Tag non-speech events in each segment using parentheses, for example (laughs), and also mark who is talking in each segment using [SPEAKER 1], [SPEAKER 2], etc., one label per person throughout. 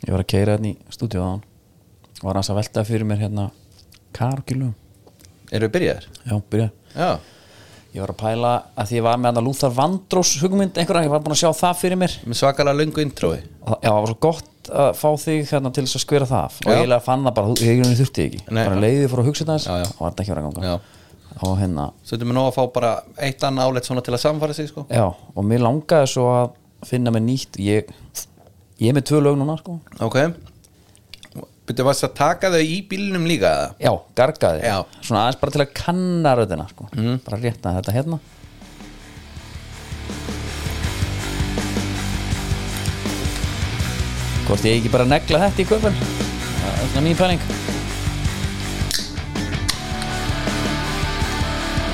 [SPEAKER 1] Ég var að keira hérna í stúdíu á hann Var hans að velta fyrir mér hérna Karokilum
[SPEAKER 2] Eru við byrjaðir?
[SPEAKER 1] Já, byrja
[SPEAKER 2] Já,
[SPEAKER 1] Ég var að pæla að því ég var með hann að Lúþar Vandrós hugmynd einhverja, ég var búin að sjá það fyrir mér
[SPEAKER 2] með svakalega löngu intrói
[SPEAKER 1] Og það- Já, það var svo gott að fá þig hérna til þess að skvera það af Og
[SPEAKER 2] Já.
[SPEAKER 1] ég eiginlega fann það bara, þú- ég ég þurfti ekki
[SPEAKER 2] Nei.
[SPEAKER 1] Bara leiðið fór að hugsa
[SPEAKER 2] Já, já.
[SPEAKER 1] þess og var þetta ekki verið að
[SPEAKER 2] Já.
[SPEAKER 1] ganga Og hérna,
[SPEAKER 2] Stundum við nóg að fá bara eitt annað áleitt svona til að samfara sig sko
[SPEAKER 1] já, og mér langaði svo að finna mér nýtt Ég, ég er með tvö lög núna, sko
[SPEAKER 2] Ok Byrju, varst að taka þau í bílnum líka eða?
[SPEAKER 1] Já, gargaði
[SPEAKER 2] Já. Mhm.
[SPEAKER 1] Svona aðeins bara til að kanna röddina sko. Bara rétta þetta hérna Hvort ég ekki bara negla þetta í köpun Það er svona mín pæling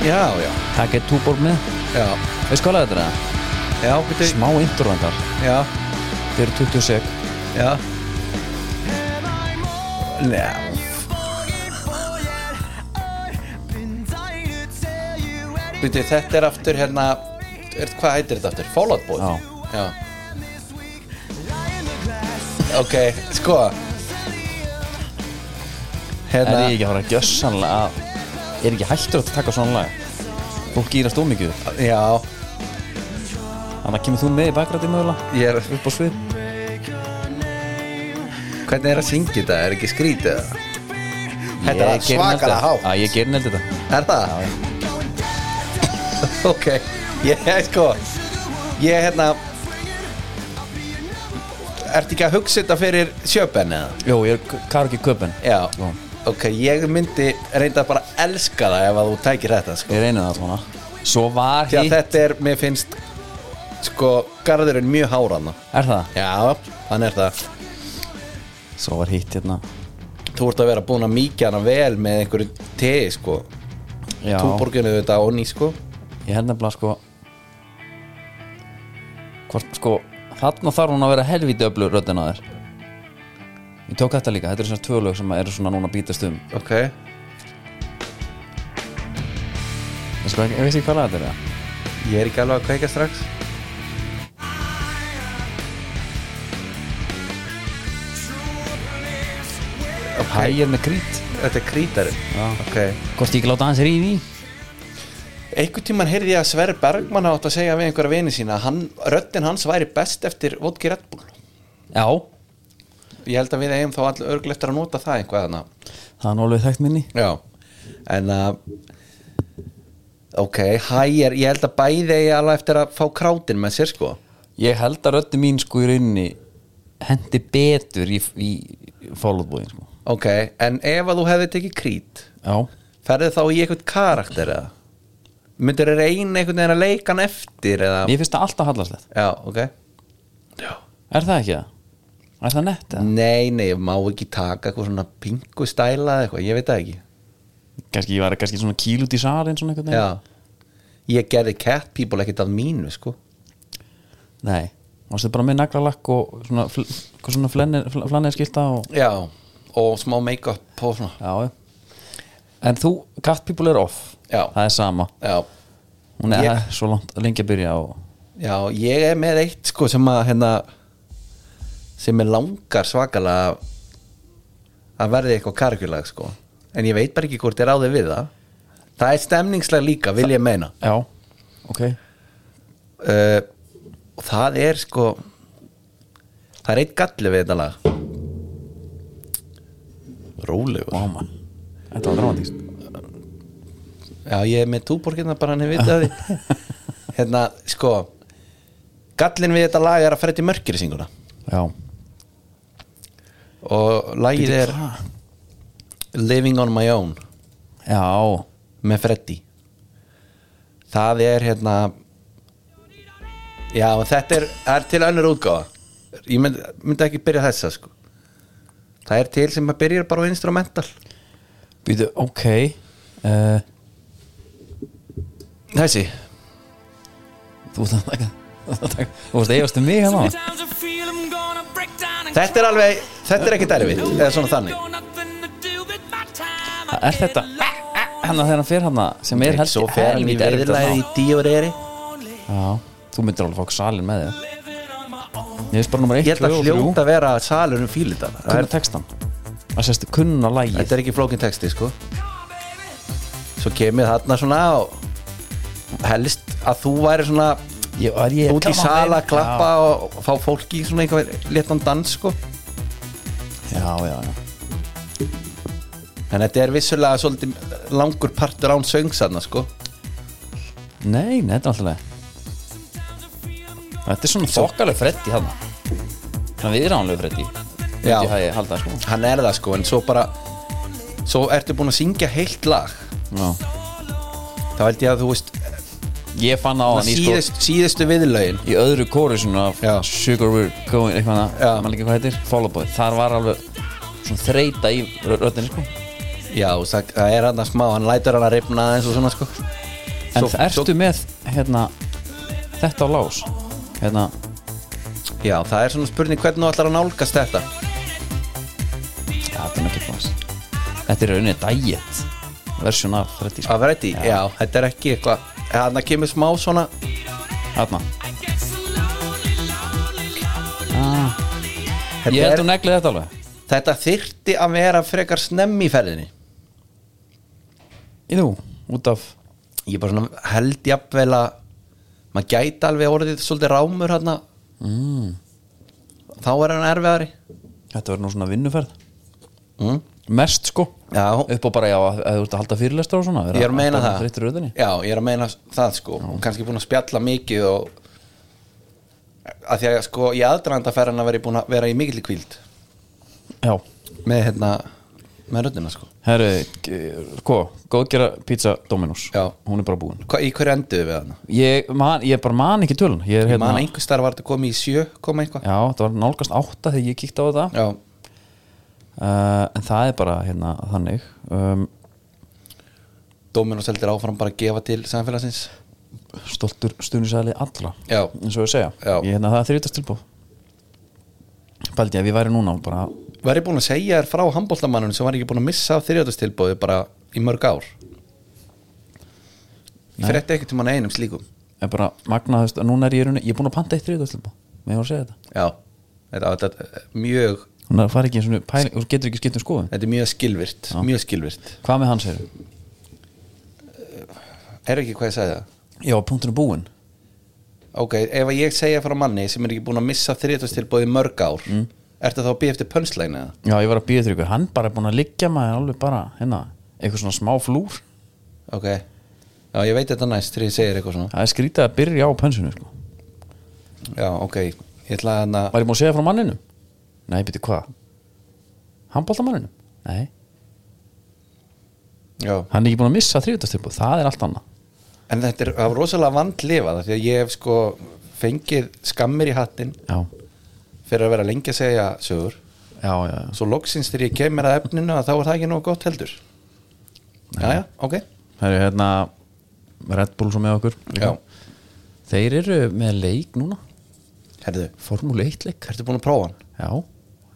[SPEAKER 2] Já, já
[SPEAKER 1] Takk er túborg með
[SPEAKER 2] Já,
[SPEAKER 1] Við skólaði þetta eða?
[SPEAKER 2] já, byrju
[SPEAKER 1] Smá intro þendar
[SPEAKER 2] Já,
[SPEAKER 1] Fyrir 20 sek
[SPEAKER 2] já Já, byrju, þetta er aftur hérna er, Hvað heitir þetta aftur? Fallout Boy
[SPEAKER 1] Já.
[SPEAKER 2] já Ok, sko
[SPEAKER 1] Er
[SPEAKER 2] Hérna
[SPEAKER 1] ég ekki að fara að gjössanlega að Er ekki hættur að taka svona lag Fólk gýrast ómikið
[SPEAKER 2] Já,
[SPEAKER 1] Þannig að kemur þú með í bakrætti mögulega
[SPEAKER 2] ég er
[SPEAKER 1] Upp á svið
[SPEAKER 2] Hvernig er að syngja þetta? Er ekki skrítið? eða? Þetta er
[SPEAKER 1] Ég geri nefnilega þetta.
[SPEAKER 2] svakalega há
[SPEAKER 1] Já, ég gerir nefnilega þetta
[SPEAKER 2] Er það? (laughs) ok Ég sko Ég hérna Ertu ekki að hugsa þetta fyrir sjöpen eða?
[SPEAKER 1] Jó, ég er karki köpun
[SPEAKER 2] Já
[SPEAKER 1] Jó.
[SPEAKER 2] Ok, ég myndi reynda bara elska það ef að þú tækir þetta sko
[SPEAKER 1] Ég reyni það svona Svo var
[SPEAKER 2] Því að
[SPEAKER 1] hitt
[SPEAKER 2] þetta er, mér finnst sko, garðurinn mjög háranna
[SPEAKER 1] Er það?
[SPEAKER 2] Já, hann er það
[SPEAKER 1] Svo var hitt hérna
[SPEAKER 2] Þú ert að vera búin að mýkja hana vel með einhverju tei sko
[SPEAKER 1] Já
[SPEAKER 2] Túborginu þetta og ný sko
[SPEAKER 1] Ég held nefnilega sko Hvort sko Þarna þarf hún að vera helvíti öflur röddina þér Ég tók þetta líka Þetta eru svona tvö lög sem eru svona núna að bítast um
[SPEAKER 2] Ok,
[SPEAKER 1] Ég, sko, ekki- ég veist ekki hvað lag þetta er það
[SPEAKER 2] ég er ekki alveg að kveika strax
[SPEAKER 1] Hæ er með krít
[SPEAKER 2] Þetta er krítari
[SPEAKER 1] Já.
[SPEAKER 2] Ok
[SPEAKER 1] Hvort ég ekki láta hans ríði í
[SPEAKER 2] Einhvern tíman heyrði ég að Sverri Bergmann átt að segja við einhverja vini sína að hann, röddinn hans væri best eftir vodki Red Bull
[SPEAKER 1] Já
[SPEAKER 2] Ég held að við eigum þá all örgl eftir að nota það einhvað hana
[SPEAKER 1] Það er nú alveg þekkt minni
[SPEAKER 2] Já En að Ok, hægir, ég held að bæði ég alveg eftir að fá krátin með sér sko
[SPEAKER 1] Ég held að röddin mín sko í rauninni Hendi betur í, í Fólkbúðin sko
[SPEAKER 2] Ok, en ef að þú hefði tekið krít
[SPEAKER 1] Já
[SPEAKER 2] ferði þá í eitthvað karakter eða myndir þér einu einhvern veginn að leika hann eftir eða
[SPEAKER 1] Mér finnst það alltaf hallarslegt
[SPEAKER 2] já, ok já.
[SPEAKER 1] Er það ekki það? Er það nett eða?
[SPEAKER 2] nei, nei, ég má ekki taka eitthvað svona pingu stæla eða eitthvað, ég veit það ekki Mm.
[SPEAKER 1] Kannski ég var kannski svona kíl út í salin svona einhvern
[SPEAKER 2] já, ég gerði cat people ekkert af mínu sko
[SPEAKER 1] Nei, varstu bara með naglalakk og svona, fl hvað svona flennir, fl flannir skilta og
[SPEAKER 2] já, og smá make-up og svona
[SPEAKER 1] Já, en þú, cat people er off
[SPEAKER 2] Já.
[SPEAKER 1] Það er sama
[SPEAKER 2] já,
[SPEAKER 1] Hún er
[SPEAKER 2] Ég-
[SPEAKER 1] svo langt, lengi að byrja og
[SPEAKER 2] já, ég er með eitt sko sem að hérna sem er langar svakalega að- að verði eitthvað karkulag sko en ég veit bara ekki hvort ég ráði við það það er stemningslag líka, vil ég meina
[SPEAKER 1] Já, ok
[SPEAKER 2] uh, og það er sko það er eitt galli við þetta lag Rólegur
[SPEAKER 1] Váma, þetta var dramatist
[SPEAKER 2] Já, ég er með túborginna bara hann hefur vitað því Hérna, sko Gallin við þetta lag er að Freddy Mercury syngur það
[SPEAKER 1] Já,
[SPEAKER 2] og lagið er
[SPEAKER 1] Hvað?
[SPEAKER 2] Living on my own
[SPEAKER 1] Já,
[SPEAKER 2] með Freddy það er hérna já og þetta er, það er til önnur útgáfa ég mynd, myndi ekki byrja þessa sko það er til sem að byrja bara á instrumental
[SPEAKER 1] býtu, ok uh,
[SPEAKER 2] þessi
[SPEAKER 1] Þú þarft að taka Þú veist, eigast um mig hérna
[SPEAKER 2] þetta er alveg, þetta er ekki derfið eða svona þannig
[SPEAKER 1] Er þetta Hanna Hérna þegar hann fer hann sem er helst
[SPEAKER 2] svo fer hann í
[SPEAKER 1] helvíti erfitt að
[SPEAKER 2] veðurlæði í díoreri
[SPEAKER 1] ná. Já, þú myndir alveg fá salin með þig Ég veist bara nummer 1,
[SPEAKER 2] Ég held
[SPEAKER 1] 2
[SPEAKER 2] að
[SPEAKER 1] og 3
[SPEAKER 2] hljóta að vera salur um fílita
[SPEAKER 1] Kunna textan Það sést kunna lægið
[SPEAKER 2] Þetta er ekki flókin texti sko Svo kemur þarna svona og helst að þú væri svona
[SPEAKER 1] Ég var ég
[SPEAKER 2] út í
[SPEAKER 1] Come on,
[SPEAKER 2] sala,
[SPEAKER 1] baby.
[SPEAKER 2] klappa og fá fólki í svona einhver léttan dans sko
[SPEAKER 1] Já, já, já
[SPEAKER 2] En þetta er vissulega svolítið langur partur án söngsanna sko
[SPEAKER 1] Nei, nei, þetta er alltaf leið Þetta er svona þokkaleg freddi hann Þannig við erum ánlega freddi
[SPEAKER 2] Já.
[SPEAKER 1] Ég hæði halda það
[SPEAKER 2] Hann er það sko en svo bara Svo ertu búin að syngja heilt lag
[SPEAKER 1] sko já.
[SPEAKER 2] Þá held ég að þú veist
[SPEAKER 1] Ég fann á hann í sko
[SPEAKER 2] síðust, síðustu viðlaugin
[SPEAKER 1] Í öðru kóri svona af
[SPEAKER 2] Já.
[SPEAKER 1] Sugar We're Going Eitthvað annað,
[SPEAKER 2] Já.
[SPEAKER 1] maður líka hvað heitir Follow Boy Þar var alveg svona þreita í röddinni sko
[SPEAKER 2] Já, það, það er hann að smá, hann lætur hann að ripna aðeins og svona sko
[SPEAKER 1] En
[SPEAKER 2] Svo-
[SPEAKER 1] það ertu með hérna Þetta á lás Hérna
[SPEAKER 2] Já, það er svona spurning hvernig þú ætlar að nálgast þetta
[SPEAKER 1] Já, þetta er ekki lás Þetta er rauninni diet Versjón af freddi sko
[SPEAKER 2] Að vera já. já, þetta er ekki eitthvað Þannig að kemur smá svona
[SPEAKER 1] Þarna Ég
[SPEAKER 2] Þetta,
[SPEAKER 1] held
[SPEAKER 2] er,
[SPEAKER 1] hún neglið þetta alveg
[SPEAKER 2] þetta þyrti að vera frekar snemmi í ferðinni
[SPEAKER 1] Jú, út af
[SPEAKER 2] Ég bara svona held jafnvel að maður gæti alveg orðið svolítið rámur hann mm. þá er hann erfiðari
[SPEAKER 1] Þetta verður nú svona vinnuferð
[SPEAKER 2] mm.
[SPEAKER 1] Mest sko
[SPEAKER 2] Já,
[SPEAKER 1] Upp á bara já, að að þú ert að halda fyrirlestur og svona vera
[SPEAKER 2] ég er að meina
[SPEAKER 1] alltaf
[SPEAKER 2] það
[SPEAKER 1] þreyttur í röðinni.
[SPEAKER 2] Já, ég er að meina það sko og kannski búin að spjalla mikið og að því að sko í aðdraðanda ferðina verið búin að vera í mikill kvíld
[SPEAKER 1] Já,
[SPEAKER 2] með hérna með röddina sko
[SPEAKER 1] herru, g- sko Góðgera pizza Dominos
[SPEAKER 2] Já.
[SPEAKER 1] Hún er bara búin
[SPEAKER 2] Hva, í hverju enduðu við hann?
[SPEAKER 1] Ég, man, ég bara man ekki tölun Ég er
[SPEAKER 2] Hérna.
[SPEAKER 1] hérna
[SPEAKER 2] Man einhver starf var þetta komið í sjö koma eitthvað
[SPEAKER 1] Já, það var nálgast átta þegar ég kíkti á þetta
[SPEAKER 2] Já,
[SPEAKER 1] uh, En það er bara hérna þannig um,
[SPEAKER 2] Dominos heldur áfram bara að gefa til samfélagsins
[SPEAKER 1] Stoltur stuðnisæli allra
[SPEAKER 2] Já,
[SPEAKER 1] Eins og ég segja
[SPEAKER 2] Já.
[SPEAKER 1] Ég hérna það er þrjóttast tilbúð Pældi ég að við væri núna bara
[SPEAKER 2] var ég búin að segja þér frá handbóltamannun sem var ekki búin að missa þriðjóttastilbóði bara í mörg ár Ég fyrir þetta ekkert um hann einum slíkum
[SPEAKER 1] er bara magnaðust að núna er ég í rauninni, ég er búin að panta eitt þriðdagstilbá með ég var að segja þetta
[SPEAKER 2] Já, þetta, þetta, er mjög,
[SPEAKER 1] hún er að fara ekki eins og pæling, þú getur ekki skipt um skoðun
[SPEAKER 2] þetta er mjög skilvirt Mjög skilvirt
[SPEAKER 1] hvað með hans eru?
[SPEAKER 2] Er ekki hvað ég sagði það?
[SPEAKER 1] já, punktinu búinn
[SPEAKER 2] Ok, ef að ég segja frá manni sem er ekki búin að missa þriðjóttastilbóði í mörg ár mm. Ertu þá að býja eftir pönslægna eða?
[SPEAKER 1] já, ég var að býða þér ykkur, hann bara er búin að liggja maður alveg bara, hérna, eitthvað svona smá flúr
[SPEAKER 2] Ok, já ég veit þetta næst þegar ég segir eitthvað svona
[SPEAKER 1] það er skrítið að byrja á pönsinu sko.
[SPEAKER 2] Já, ok, ég ætla að hana
[SPEAKER 1] var ég búin að segja frá manninu? nei, byrju hvað? handbóltamanninu? nei,
[SPEAKER 2] Já.
[SPEAKER 1] hann er ekki búin að missa þriðdagstilbá það er allt annað
[SPEAKER 2] En þetta er það var rosalega vandlifað af Því að ég hef sko fengið skammir í hattinn
[SPEAKER 1] já,
[SPEAKER 2] Fyrir að vera lengi að segja sögur
[SPEAKER 1] já, já, já.
[SPEAKER 2] Svo loksins þegar ég kemur að efninu að Þá er það ekki nóg gott heldur Jæja, ok
[SPEAKER 1] það eru hérna Red Bull svo með okkur
[SPEAKER 2] Já,
[SPEAKER 1] Þeir eru með leik núna
[SPEAKER 2] herðu,
[SPEAKER 1] Formúlu 1 leik
[SPEAKER 2] ertu búin að prófa hann?
[SPEAKER 1] Já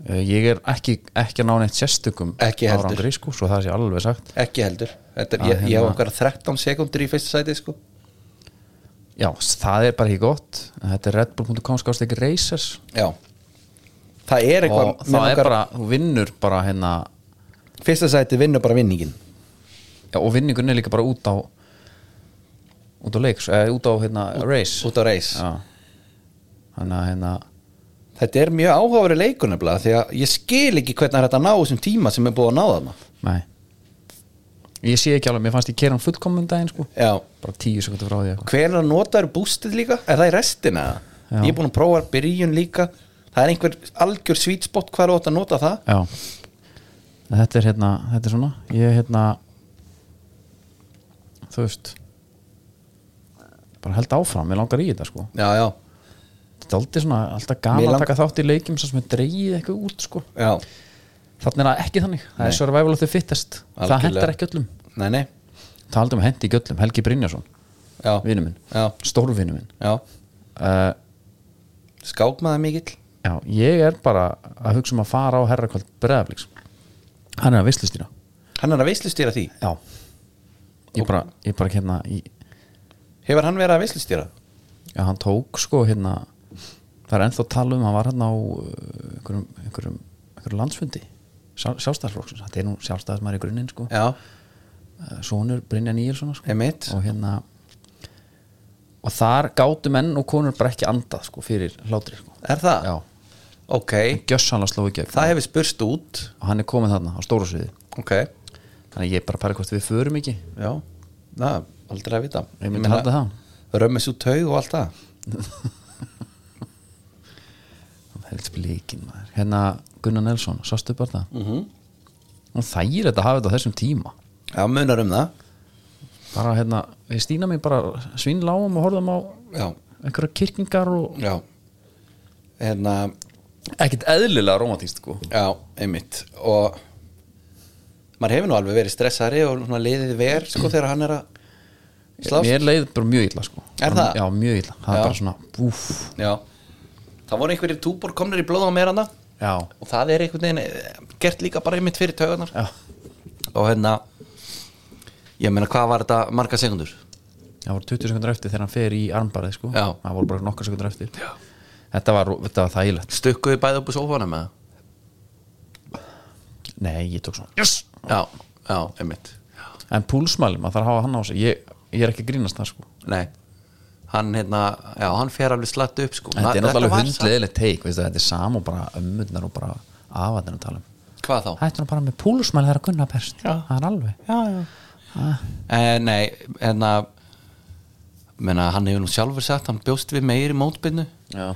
[SPEAKER 1] Eh, Ég er ekki, ekki að ná neitt sérstökum
[SPEAKER 2] Ekki heldur.
[SPEAKER 1] árangri, sko, Svo það sé alveg sagt
[SPEAKER 2] Ekki heldur Þetta
[SPEAKER 1] Að
[SPEAKER 2] er, ég, ég hef
[SPEAKER 1] hérna-
[SPEAKER 2] okkar 13 sekundur í fyrsta sæti sko
[SPEAKER 1] Já, s- það er bara ekki gott En Þetta er redbull.com skást ekki racers
[SPEAKER 2] Já Það er eitthvað
[SPEAKER 1] Og
[SPEAKER 2] með
[SPEAKER 1] það er
[SPEAKER 2] okkar-
[SPEAKER 1] bara, þú vinnur bara hérna
[SPEAKER 2] Fyrsta sæti vinnur bara vinningin
[SPEAKER 1] já, Og vinningun er líka bara út á Út á leiks, eða út á hérna race
[SPEAKER 2] Út á reis
[SPEAKER 1] Já Þannig að hérna
[SPEAKER 2] Þetta er mjög áhugaveri leikur nefnilega því að ég skil ekki hvernig er þetta að ná þessum tíma sem er búið að ná þarna
[SPEAKER 1] Nei Ég sé ekki alveg, mér fannst ég kera hann fullkomum daginn sko
[SPEAKER 2] Já
[SPEAKER 1] Bara tíu sekundur frá því eitthvað
[SPEAKER 2] Hvenær notaður bústið líka? Er það í restina?
[SPEAKER 1] Já.
[SPEAKER 2] Ég er búin að prófa byrjun líka Það er einhver algjör sweet spot hvað er ótt að nota það
[SPEAKER 1] Já En Þetta er hérna, þetta er svona Ég er hérna Þú veist Bara held áfram, mér langar í þetta sko
[SPEAKER 2] Já, já,
[SPEAKER 1] Þetta er aldrei svona, alltaf
[SPEAKER 2] Mér
[SPEAKER 1] gaman
[SPEAKER 2] lang-
[SPEAKER 1] að taka þátt í leikjum sem er dreigið eitthvað út sko
[SPEAKER 2] já
[SPEAKER 1] Þannig er það ekki þannig, það er survival of the fittest Það
[SPEAKER 2] Algjörlega.
[SPEAKER 1] hendar ekki öllum
[SPEAKER 2] Nei, nei,
[SPEAKER 1] Taldum hendi ekki öllum, Helgi Brynjarsson
[SPEAKER 2] já
[SPEAKER 1] Vinnu minn,
[SPEAKER 2] Já,
[SPEAKER 1] stórvinnu minn
[SPEAKER 2] já
[SPEAKER 1] uh,
[SPEAKER 2] Skákmaður mikill
[SPEAKER 1] Já, ég er bara að hugsa um að fara á herrakvöld sko. breðaflíks Hann er að vislustýra
[SPEAKER 2] Hann er að veislustýra því
[SPEAKER 1] Já Ég bara, ég bara hérna, ég,
[SPEAKER 2] Hefur hann verið að veislustýra?
[SPEAKER 1] Já, hann tók sko hérna það er ennþá tala um, hann var hann á uh, einhverjum, einhverjum, einhverjum landsfundi Sjá, sjálfstæðarflóksins, þetta er nú sjálfstæðismæri í grunninn sko, Eh,
[SPEAKER 2] já,
[SPEAKER 1] sonur Brynja Níelsson sko.
[SPEAKER 2] emitt
[SPEAKER 1] og hérna og þar gátu menn og konur bara ekki andað sko, fyrir hlátri sko.
[SPEAKER 2] Er það?
[SPEAKER 1] já,
[SPEAKER 2] Ok,
[SPEAKER 1] gjössanlega sló í gegn
[SPEAKER 2] það hefur spurst út
[SPEAKER 1] og hann er komið þarna á stóra sviði
[SPEAKER 2] Ok,
[SPEAKER 1] þannig að ég er bara að pæla hvort við förum ekki
[SPEAKER 2] já Na, aldrei að vita
[SPEAKER 1] Ég myndi halda það.
[SPEAKER 2] Römmis út taug og allt það
[SPEAKER 1] helst blíkin maður hérna Gunnar Nelson, sástu bara það mm
[SPEAKER 2] Mhm.
[SPEAKER 1] -hmm. hún þægir þetta að hafa þetta á þessum tíma
[SPEAKER 2] Já, munar um það
[SPEAKER 1] bara hérna, við stýna mig bara svinnláum og horfðum á
[SPEAKER 2] Já,
[SPEAKER 1] einhverja kirkingar og
[SPEAKER 2] já Hérna,
[SPEAKER 1] ekkert eðlilega romantíst sko
[SPEAKER 2] já, einmitt Og maður hefur nú alveg verið stressari og svona liðið ver sko þegar hann er að slást
[SPEAKER 1] mér leið bara mjög illa sko
[SPEAKER 2] Er það?
[SPEAKER 1] já, mjög illa, það
[SPEAKER 2] Já.
[SPEAKER 1] er bara svona úff,
[SPEAKER 2] Já, það voru einhverjir túbor komnir í blóð á meirana
[SPEAKER 1] já,
[SPEAKER 2] og það er einhvern veginn eh, gert líka bara einmitt fyrir taugarnar
[SPEAKER 1] já
[SPEAKER 2] og hérna ég meina hvað var þetta marga sekundur
[SPEAKER 1] það voru 20 sekundur eftir þegar hann fer í armbarið sko
[SPEAKER 2] Já.
[SPEAKER 1] það voru bara nokkar sekundur eftir já. þetta var, þetta var þægilegt
[SPEAKER 2] stukkuðu bæði upp úr sófanum eða?
[SPEAKER 1] nei, ég tók svona yes!
[SPEAKER 2] já, já, einmitt
[SPEAKER 1] en púlsmæli, maður þarf að hafa hann á sig ég, ég er ekki að grínast það sko
[SPEAKER 2] nei, hann hérna já, hann fer alveg slatt upp sko
[SPEAKER 1] þetta er
[SPEAKER 2] Na-
[SPEAKER 1] náttúrulega
[SPEAKER 2] var samt-
[SPEAKER 1] hundleðileg teik veistu, þetta er sam og bara ömmurnar og bara afatnir að tala um
[SPEAKER 2] hvað þá?
[SPEAKER 1] hættu nú bara með púlsmæli þegar að gunna perst
[SPEAKER 2] Já.
[SPEAKER 1] það er alveg
[SPEAKER 2] já, já eh, nei, hérna menna, hann hefur nú sjálfur sagt hann bjóst við meiri mótbyrnu
[SPEAKER 1] já.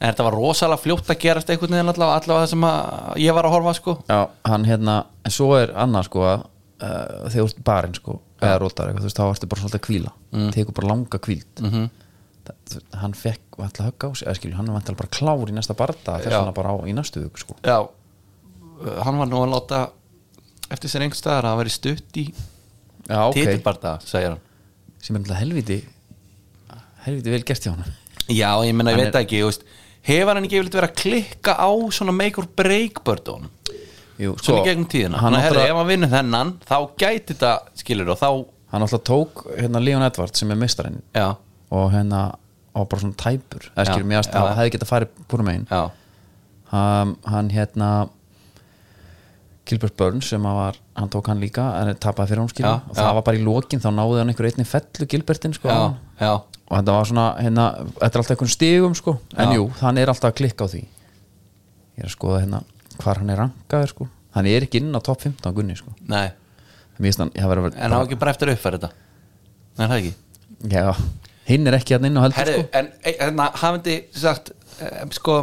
[SPEAKER 2] en þetta var rosalega fljótt að gerast einhvern veginn allavega, allavega það sem að ég var að horfa sko
[SPEAKER 1] hann hérna en svo er annað sko að uh, þegar þú ert barinn sko eða rótar eitthvað, þú veist, þá ertu bara svolítið að kvíla mm. tekur bara langa kvíld mm
[SPEAKER 2] Mhm.
[SPEAKER 1] hann fekk alltaf högg á sig eða skilju, hann var alltaf bara klár í næsta barða þess
[SPEAKER 2] Já.
[SPEAKER 1] vegna bara á í næstu vöku sko
[SPEAKER 2] já, eh, hann var nú að láta eftir sér einhvers staðar að það væri stutt í
[SPEAKER 1] já,
[SPEAKER 2] titilbarda, segir hann
[SPEAKER 1] sem er alltaf helviti helviti vel gert hjá hann
[SPEAKER 2] já, ég menna, ég
[SPEAKER 1] Hann
[SPEAKER 2] veit það ekki, þú veist hefur hann ekki vilt verið að klikka á svona make or break bördunum
[SPEAKER 1] Jú, sko,
[SPEAKER 2] svona í gegnum tíðina,
[SPEAKER 1] hann
[SPEAKER 2] Sko, hann herri,
[SPEAKER 1] náttúrulega-
[SPEAKER 2] ef hann vinnur þennan þá gæti þetta, skilur og þá,
[SPEAKER 1] hann alltaf tók hérna Leon Edwards sem er mistarinn
[SPEAKER 2] já,
[SPEAKER 1] og hérna og bara svona tæpur eða
[SPEAKER 2] Já,
[SPEAKER 1] skilur mér að
[SPEAKER 2] já.
[SPEAKER 1] það hefði getað farið búrum megin
[SPEAKER 2] já
[SPEAKER 1] um, hann hérna Gilbert Burns sem að var hann tók hann líka en tapaði fyrir hún skilur
[SPEAKER 2] Já,
[SPEAKER 1] og
[SPEAKER 2] já.
[SPEAKER 1] það var bara í lokin þá náði hann einhver einni fellu Gilbertin sko
[SPEAKER 2] já,
[SPEAKER 1] hann.
[SPEAKER 2] já,
[SPEAKER 1] og þetta var svona hérna þetta er alltaf einhvern stigum sko en
[SPEAKER 2] Já.
[SPEAKER 1] jú hann er alltaf að klikka á því ég er að skoða hérna hvar hann er rankaður sko hann er ekki inn á topp 15 gunni sko
[SPEAKER 2] nei
[SPEAKER 1] mér finnst hann ég hafi verið
[SPEAKER 2] en
[SPEAKER 1] að
[SPEAKER 2] hann ekki bara eftir að uppfæra þetta nei, er það ekki
[SPEAKER 1] já hinn er ekki hérna inn á heldur
[SPEAKER 2] herri,
[SPEAKER 1] sko
[SPEAKER 2] en e- hérna, hafandi sagt, eh, sko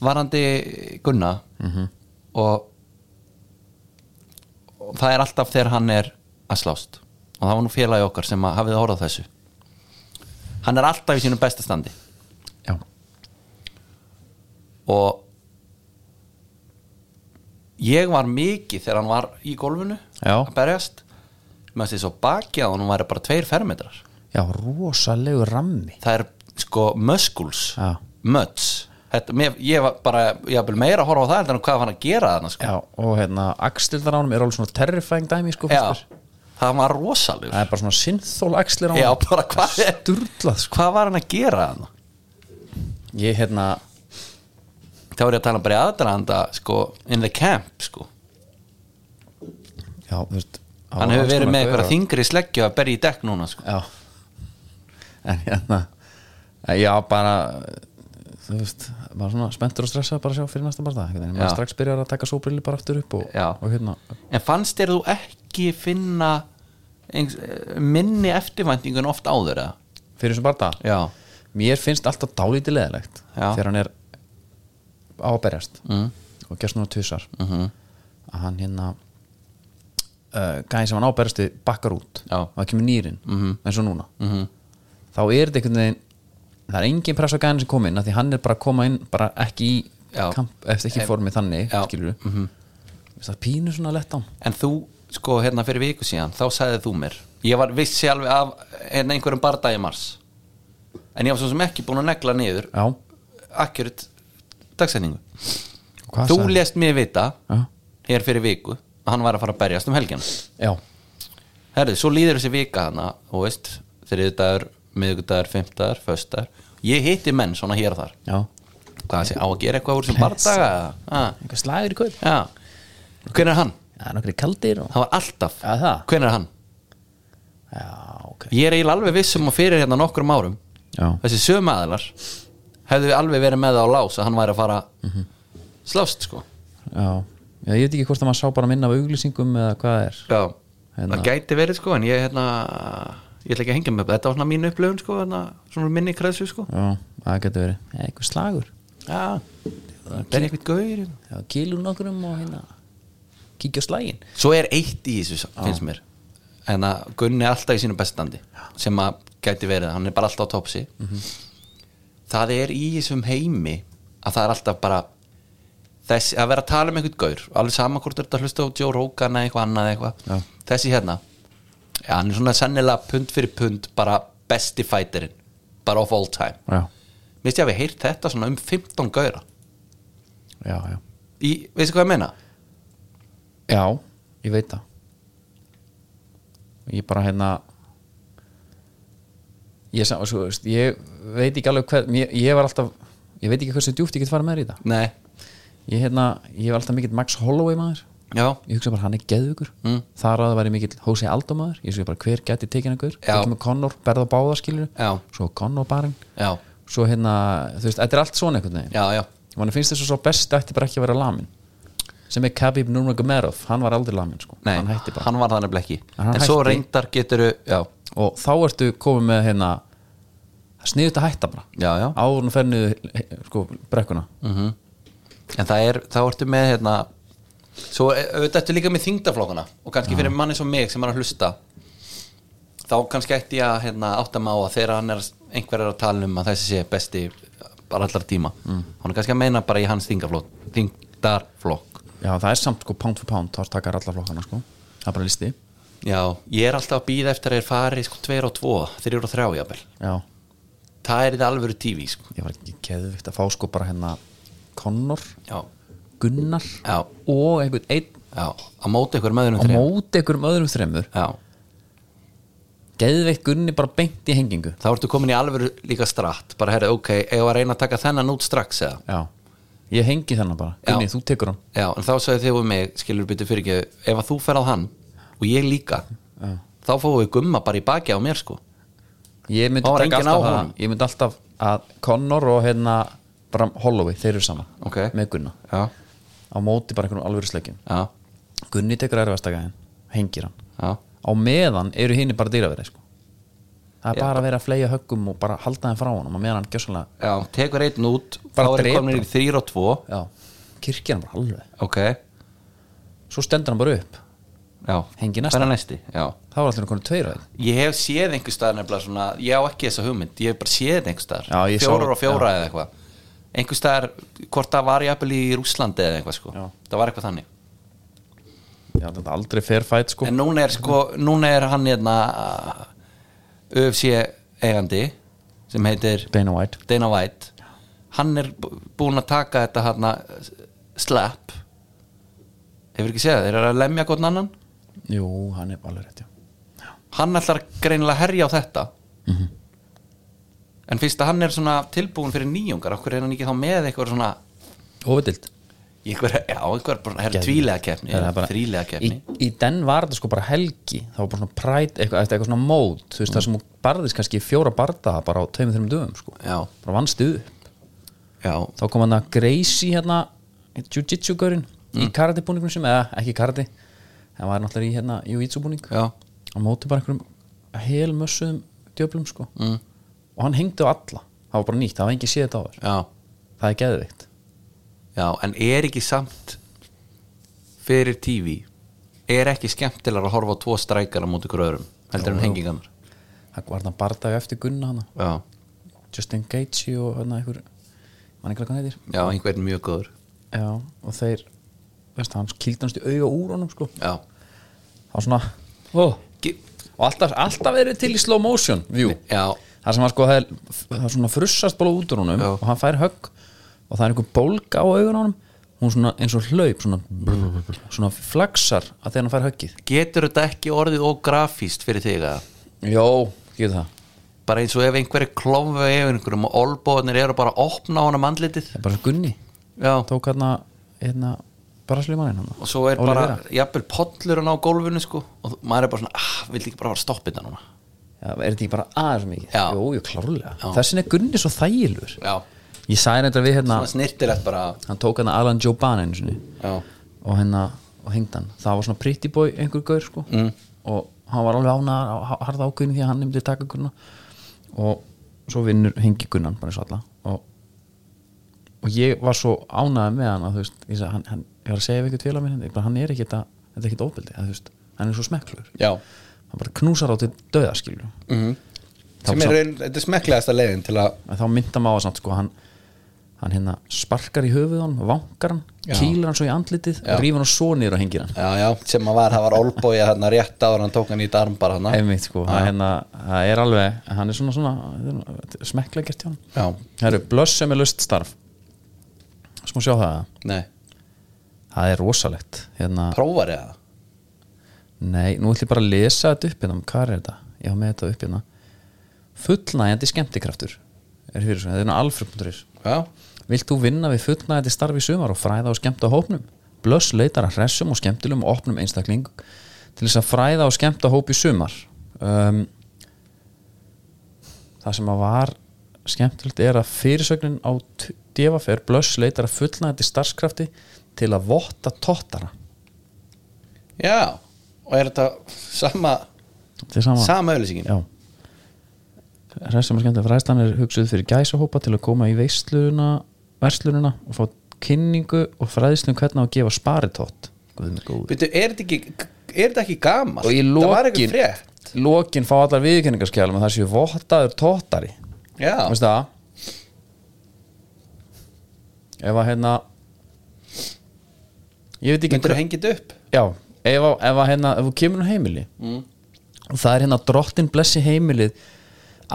[SPEAKER 2] varandi Gunna
[SPEAKER 1] Mhm.
[SPEAKER 2] og, og það er alltaf þegar hann er að slást og það var nú félagi okkar sem að hafið að horfa þessu hann er alltaf í sínum besta standi
[SPEAKER 1] já
[SPEAKER 2] og ég var mikið þegar hann var í gólfinu
[SPEAKER 1] Já.
[SPEAKER 2] að berjast með þessi svo baki að hann væri bara tveir fermetrar
[SPEAKER 1] Já, rosalegu rammi
[SPEAKER 2] það er sko muscles
[SPEAKER 1] Já.
[SPEAKER 2] möts Þetta, mér, ég var bara, ég var meira að horfa á það heldur en hvað var hann að gera þarna sko.
[SPEAKER 1] Já, og hérna, axlirnar á honum er alveg svona terrifying dæmi, sko,
[SPEAKER 2] Já,
[SPEAKER 1] fyrst mér.
[SPEAKER 2] það var rosalur
[SPEAKER 1] Það er bara svona sinnþól axlir á honum
[SPEAKER 2] Já, bara hvað er
[SPEAKER 1] Sturlað, sko
[SPEAKER 2] hvað var hann að gera þarna
[SPEAKER 1] Ég, hérna,
[SPEAKER 2] þá er ég að tala um bara í aðdraðanda sko, in the camp sko.
[SPEAKER 1] já, þú veist á
[SPEAKER 2] hann hefur
[SPEAKER 1] alls
[SPEAKER 2] verið
[SPEAKER 1] konar
[SPEAKER 2] með eitthvað
[SPEAKER 1] gaurar.
[SPEAKER 2] þingri sleggju að berja í dekk núna sko.
[SPEAKER 1] Já En hérna, en já, bara Þú veist, bara svona spenntur og stressað bara að sjá fyrir næsta barða einhvern veginn.
[SPEAKER 2] Já.
[SPEAKER 1] Maður strax byrjar að taka sóbrilli bara aftur upp og,
[SPEAKER 2] Já.
[SPEAKER 1] og hérna,
[SPEAKER 2] en fannst þér þú ekki finna eins, minni eftirvæntingun oft áður eða?
[SPEAKER 1] fyrir þessum barða
[SPEAKER 2] já,
[SPEAKER 1] Mér finnst alltaf dálítið leðilegt
[SPEAKER 2] Já.
[SPEAKER 1] þegar hann er á að berjast mm. og gerst núna tvisar
[SPEAKER 2] Mhm.
[SPEAKER 1] -hmm. að hann hérna uh, gæði sem hann á að berjast við bakkar út
[SPEAKER 2] Já. Mhm.
[SPEAKER 1] og það kemur nýrin -hmm. eins og núna -hmm. þá er þetta einhvern veginn það er engin pressa gæðin sem kom inn af því hann er bara að koma inn bara ekki í
[SPEAKER 2] Já.
[SPEAKER 1] kamp, eftir ekki formið þannig
[SPEAKER 2] Já. Mhm.
[SPEAKER 1] skilur við mm það pínu svona lett á hann
[SPEAKER 2] en þú sko hérna fyrir viku síðan þá sagði þú mér ég var vissi alveg af hérna, einhverjum bardagi mars en ég var svo sem ekki búin að negla niður
[SPEAKER 1] Já,
[SPEAKER 2] akkurat dagsendingu
[SPEAKER 1] Og hvað
[SPEAKER 2] þú
[SPEAKER 1] sagði hann?
[SPEAKER 2] lést mér vita
[SPEAKER 1] Já.
[SPEAKER 2] hér fyrir viku að hann var að fara að berjast um helgina
[SPEAKER 1] Já,
[SPEAKER 2] herrið, svo líður þessi vika hana þú veist, þriðdagur, miðvikudagur, fimmtagur, föstadur ég hitti menn svona hér og þar
[SPEAKER 1] já,
[SPEAKER 2] hvað sé, á að gera eitthvað úr sem bardaga ah,
[SPEAKER 1] einhver slagur í kvöld
[SPEAKER 2] já, hvenær er hann?
[SPEAKER 1] já, nokkri kaldir og
[SPEAKER 2] hann var alltaf,
[SPEAKER 1] Já, það.
[SPEAKER 2] hvenær er hann?
[SPEAKER 1] já, ok
[SPEAKER 2] ég er eiginlega alveg viss um að fyrir hérna nokkrum árum
[SPEAKER 1] já,
[SPEAKER 2] þessi sömu aðilar hefðu alveg verið með það á lás að hann væri að fara slást sko
[SPEAKER 1] já, já ég veit ekki hvort að maður sá bara minna af auglýsingum eða hvað er
[SPEAKER 2] Já,
[SPEAKER 1] Hérna.
[SPEAKER 2] það gæti verið sko en ég, hérna, ég ætla ekki að hengja mig upp. þetta var svona mín upplöfun sko hérna, svona minni kreðsu sko
[SPEAKER 1] já, það getur verið, Já, einhver slagur
[SPEAKER 2] Já, það er eitthvað gauðir hérna.
[SPEAKER 1] já, kýlum nokkrum og hérna kíkja á slagin
[SPEAKER 2] Svo er eitt í þessu samt, finnst mér en að Gunni er alltaf í sínu bestandi sem að gæti verið, hann er bara alltaf á topsi það er í þessum heimi að það er alltaf bara þess, að vera að tala um einhvern gaur alveg sama hvort er þetta að hlusta á Joe Rogan eða eitthvað annað eða
[SPEAKER 1] Já.
[SPEAKER 2] eitthvað þessi hérna, ja, hann er svona sennilega pund fyrir pund bara besti fighterinn bara of all time
[SPEAKER 1] já,
[SPEAKER 2] minnst ég að við heyrt þetta svona um 15 gaura
[SPEAKER 1] já, já
[SPEAKER 2] í, veistu hvað ég meina?
[SPEAKER 1] já, ég veit það ég bara hérna ég, sá, svo, veist, ég veit ekki alveg hver ég, ég var alltaf, ég veit ekki hversu djúpt ég get farið með þér í þetta
[SPEAKER 2] Nei,
[SPEAKER 1] ég, hérna, ég var alltaf mikill Max Holloway maður
[SPEAKER 2] já,
[SPEAKER 1] ég hugsa bara hann er geðugur
[SPEAKER 2] Mm.
[SPEAKER 1] þar að það væri mikill Hosei Aldo maður ég hugsa bara hver geti tekin einhver
[SPEAKER 2] Já.
[SPEAKER 1] svo kemur Connor, berða báða skilur
[SPEAKER 2] Já.
[SPEAKER 1] svo Connor barinn
[SPEAKER 2] já,
[SPEAKER 1] svo hérna, þú veist, þetta er allt svona einhvern veginn
[SPEAKER 2] já, já
[SPEAKER 1] mann finnst þess að svo best ætti bara ekki að vera lamin sem er Khabib Nurmagomedov hann var aldrei lamin sko,
[SPEAKER 2] Nei,
[SPEAKER 1] hann hætti bara
[SPEAKER 2] hann var það nefnilega ekki
[SPEAKER 1] Hann
[SPEAKER 2] En svo
[SPEAKER 1] hætti.
[SPEAKER 2] reyndar geturu, já,
[SPEAKER 1] og þá ertu komið með hérna sniðut að hætta bara
[SPEAKER 2] já, já
[SPEAKER 1] áður en fer niður sko, brekkuna
[SPEAKER 2] En það er, þá ertu með hérna Svo eh, auðvitað ertu líka með þingdaflokkana Og kannski fyrir manni svo mig sem er að hlusta Þá kannski ætti ég að hérna, átta mig á að þegar hann er einhver er að tala um að þessi sé besti bara allar tíma mm. Hann er kannski að meina bara í hans þingdaflokk Þingdarflokk
[SPEAKER 1] já, það er samt sko pound for pound þá takkar alla flokkana sko það er bara listi
[SPEAKER 2] Já, ég er alltaf að býða eftir að þeir fari sko 2 og 2, 3 og 3 jafnvel
[SPEAKER 1] já
[SPEAKER 2] Það er þetta alvöru TV sko
[SPEAKER 1] ég var ekki keðvikt að fá sko bara hérna Connor,
[SPEAKER 2] Já,
[SPEAKER 1] Gunnar
[SPEAKER 2] já,
[SPEAKER 1] og einhvern einn
[SPEAKER 2] já, að móta ykkur möðunum
[SPEAKER 1] á móti einhverjum öðrum þremur
[SPEAKER 2] Já,
[SPEAKER 1] geðveikt Gunni bara beint í hengingu
[SPEAKER 2] þá ertu komin í alvöru líka stratt bara herri, ok, eða að reyna að taka þennan út strax eða,
[SPEAKER 1] já, ég hengi þennan bara Gunni, þú tekur hann
[SPEAKER 2] já, en þá sagði þið við mig skilur byttu fyrir ekki, ef að þú ferð á hann og ég líka,
[SPEAKER 1] Já.
[SPEAKER 2] þá fáum við gumma bara í baki á mér sko
[SPEAKER 1] ég myndi,
[SPEAKER 2] Þá var
[SPEAKER 1] taka
[SPEAKER 2] enginn
[SPEAKER 1] alltaf
[SPEAKER 2] á
[SPEAKER 1] að,
[SPEAKER 2] honum.
[SPEAKER 1] ég myndi alltaf að Connor og hérna bara Holloway, þeir eru saman
[SPEAKER 2] Ok.
[SPEAKER 1] með Gunna,
[SPEAKER 2] já,
[SPEAKER 1] á móti bara einhverjum alvöru sleikjum
[SPEAKER 2] já,
[SPEAKER 1] Gunni tekur erfastakaðin, hengir hann
[SPEAKER 2] já,
[SPEAKER 1] á meðan eru hinni bara dýraverið sko. það er bara að vera að fleja höggum og bara halda þeim frá honum og meðan hann gjössalega
[SPEAKER 2] já, tekur einn út
[SPEAKER 1] Bara
[SPEAKER 2] þá eru
[SPEAKER 1] drepa.
[SPEAKER 2] komin í þrýr og tvo
[SPEAKER 1] já, kirkja hann bara alveg
[SPEAKER 2] ok,
[SPEAKER 1] svo stendur hann bara upp
[SPEAKER 2] já,
[SPEAKER 1] Hengi næsta.
[SPEAKER 2] hvernig næsti já.
[SPEAKER 1] það var allir konur tveir á þeim
[SPEAKER 2] ég hef séð einhver staðar nefnilega svona ég á ekki þessa hugmynd, ég hef bara séð þetta einhver
[SPEAKER 1] Já,
[SPEAKER 2] staðar
[SPEAKER 1] ég sá-
[SPEAKER 2] fjórar og fjóra eða eitthvað einhver staðar, hvort það var jafnvel í Rússlandi eða eitthvað sko,
[SPEAKER 1] Já.
[SPEAKER 2] það var eitthvað þannig
[SPEAKER 1] já, þetta er aldrei fair fight sko
[SPEAKER 2] en núna er sko, núna er hann hérna uh, UFC eigandi sem heitir
[SPEAKER 1] Dana White
[SPEAKER 2] Dana White hann er bú- búinn að taka þetta hérna slap hefur ekki séð það, þeir eru að lemja gott annan
[SPEAKER 1] jú, hann er alveg rétt já.
[SPEAKER 2] hann ætlar greinilega að herja á þetta
[SPEAKER 1] Mhm.
[SPEAKER 2] en fyrst að hann er svona tilbúin fyrir nýjungar okkur er hann ekki þá með eitthvað svona
[SPEAKER 1] ofidild
[SPEAKER 2] eitthvað, já, eitthvað bara herra tvílega keppni þrílega
[SPEAKER 1] í,
[SPEAKER 2] keppni
[SPEAKER 1] í den var þetta sko bara helgi það var bara svona præt, eitthvað, eftir eitthvað svona mót þú veist það sem hún barðist kannski í fjóra barða bara á tveimur þreim dögum sko
[SPEAKER 2] já,
[SPEAKER 1] bara vannstu upp
[SPEAKER 2] já,
[SPEAKER 1] þá kom hann að Gracie hérna jiu-jitsu görinn í karate búningum sem eða ekki karate hann var náttúrulega í hérna jiu-jitsu búning
[SPEAKER 2] já
[SPEAKER 1] á móti bara einhverjum helmössuðum djöflum sko mm. og hann hengdi á alla það var bara nýtt, það var engin séð þetta á þér
[SPEAKER 2] já,
[SPEAKER 1] það er geðvikt
[SPEAKER 2] já, en er ekki samt fyrir TV er ekki skemmtilega að horfa á tvo strækara múti ykkur öðrum, heldur en hengingarnar
[SPEAKER 1] það var þannig bardag eftir Gunna hana
[SPEAKER 2] já,
[SPEAKER 1] Justin Gaethje og hérna einhver mann ekki hvað hann heitir
[SPEAKER 2] já, einhvern mjög góður
[SPEAKER 1] já, og þeir veist, hann kýldanst í auga úr honum sko
[SPEAKER 2] já,
[SPEAKER 1] það var svona oh.
[SPEAKER 2] Ge-
[SPEAKER 1] og alltaf, alltaf verið til í slow motion view
[SPEAKER 2] já,
[SPEAKER 1] það sem að sko það er, það er svona frussast bara út úr honum
[SPEAKER 2] Já.
[SPEAKER 1] og hann fær högg og það er einhver bólga á augun á honum hún svona eins og hlaup svona, svona flagsar að þegar hann fær höggið
[SPEAKER 2] getur þetta ekki orðið ógrafíst fyrir þig að
[SPEAKER 1] Jó, getur það
[SPEAKER 3] bara eins og ef einhverju klófa yfir einhverjum og olbóðnir eru bara að opna á hana mandlitið
[SPEAKER 1] það er bara svo Gunni
[SPEAKER 3] já,
[SPEAKER 1] tók hérna, hérna bara slímanin hann
[SPEAKER 3] og svo er bara jafnvel pollurinn á gólfinu sko og þú- maður er bara svona, ah, vildi ekki bara fara að stoppa þetta núna
[SPEAKER 1] Já, er þetta ekki bara aðeins mikið?
[SPEAKER 3] Já.
[SPEAKER 1] Jú, jú, klárlega
[SPEAKER 3] Já.
[SPEAKER 1] Þessin er Gunni svo þægilur
[SPEAKER 3] já,
[SPEAKER 1] Ég sagði þetta við hérna
[SPEAKER 3] svona snirtilegt bara
[SPEAKER 1] Hann tók hérna Alan Joe Ban einu sinni
[SPEAKER 3] já,
[SPEAKER 1] Og hérna, og hengd hann Það var svona pretty boy einhver gaur sko mm. Og hann var alveg ánaðar á harða ákveðinu Því að hann nefndi að taka Gunna Og svo vinnur hengi Gunnan bara eins og alla Og, og ég var svo ánaðar með hann að, þú veist, ég, sagði, hann, hann, ég var að segja við eitthvað tveila minn bara, Hann er ekki þetta, þetta er ekki óbeldi að, þú veist, Hann er svo smekklur
[SPEAKER 3] já,
[SPEAKER 1] Hann bara knúsar á til döðaskilju mm.
[SPEAKER 2] sem er raun, þetta er smekklegasta leiðin til að
[SPEAKER 1] en þá mynda maður samt sko hann, hann hérna sparkar í höfuð hann vankar hann, kýlar hann svo í andlitið og rýfur hann svo niður og hengir hann
[SPEAKER 2] já, já, sem að var, það var olbóið hérna rétt áður en hann tók hann í darm bara hann
[SPEAKER 1] einmitt sko, það, hérna, það er alveg hann er svona svona smekkla gert hjá hann
[SPEAKER 2] já,
[SPEAKER 1] það eru blöss sem er lust starf smá sjá það
[SPEAKER 2] nei,
[SPEAKER 1] það er rosalegt hérna,
[SPEAKER 2] prófar ég það
[SPEAKER 1] nei, nú ætlum ég bara að lesa þetta upp hérna, hvað er þetta? ég hafa með þetta upp hérna fullnægjandi skemmtikraftur er fyrir svona, þetta er nú alfröfnundurir
[SPEAKER 2] já,
[SPEAKER 1] Vilt þú vinna við fullnæði starfi í sumar og fræða og skemmta hópnum? Blöss leitar að hressum og skemmtilum og opnum einstakling til þess að fræða og skemmta hóp í sumar um, Það sem að var skemmtilegt er að fyrirsögnin á djefafer blöss leitar að fullnæði starfskrafti til að votta tottara
[SPEAKER 2] já og er þetta sama
[SPEAKER 1] Þetta er sama,
[SPEAKER 2] sama auðlýsingin
[SPEAKER 1] Já Hressum og skemmta fræðslan er hugsuð fyrir gæsahópa til að koma í veisluna verslununa og fá kynningu og fræðslu um hvernig á að gefa sparitótt Guð mig góður
[SPEAKER 2] Byrju, er þetta ekki, er þetta ekki gamalt
[SPEAKER 1] og í
[SPEAKER 2] það var ekki
[SPEAKER 1] lokin
[SPEAKER 2] frétt
[SPEAKER 1] lokin fá allar viðkynningarskjálum að það séu vottaður tóttari
[SPEAKER 2] já,
[SPEAKER 1] veist það ef að hérna ég veit ekki
[SPEAKER 2] myndir þú hengið upp
[SPEAKER 1] já, ef, að, ef að hérna ef þú kemur nú heimili og það er hérna drottin blessi heimilið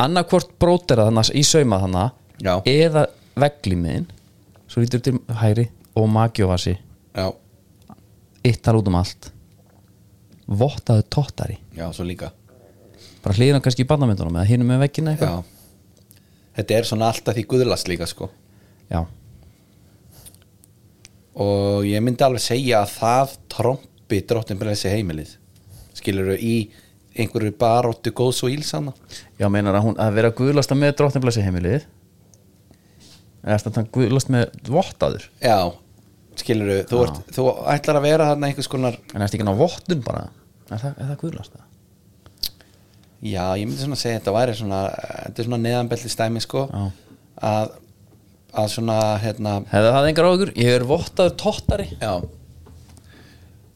[SPEAKER 1] annarkvort brótera þannig í sauma þannig
[SPEAKER 2] Já.
[SPEAKER 1] eða veglimiðin svo lítur til hæri og magjófasi
[SPEAKER 2] já,
[SPEAKER 1] yttar út um allt vottaður tóttari
[SPEAKER 2] já, svo líka
[SPEAKER 1] bara hlýðan kannski í barnamyndunum eða hinum með veggina eitthvað
[SPEAKER 2] já. þetta er svona alltaf því guðlast líka sko
[SPEAKER 1] já.
[SPEAKER 2] og ég myndi alveg segja að það trompi drottin breysi heimilið skilur í einhverju baróttu góðs og ílsanna
[SPEAKER 1] já, meinar að hún að vera guðlasta með drottinblæsi heimilið eða ertu að það guðlast með vottaður
[SPEAKER 2] já, skilur þú, ert, þú ætlar að vera þarna einhvers konar
[SPEAKER 1] en ertu ekki ná vottun bara er það, er það guðlasta?
[SPEAKER 2] já, ég myndi svona segja þetta væri svona þetta er svona neðanbelti stæmi sko
[SPEAKER 1] Já.
[SPEAKER 2] að, að svona hérna,
[SPEAKER 1] hefði það engar áhugur, ég er vottaður tóttari
[SPEAKER 2] já,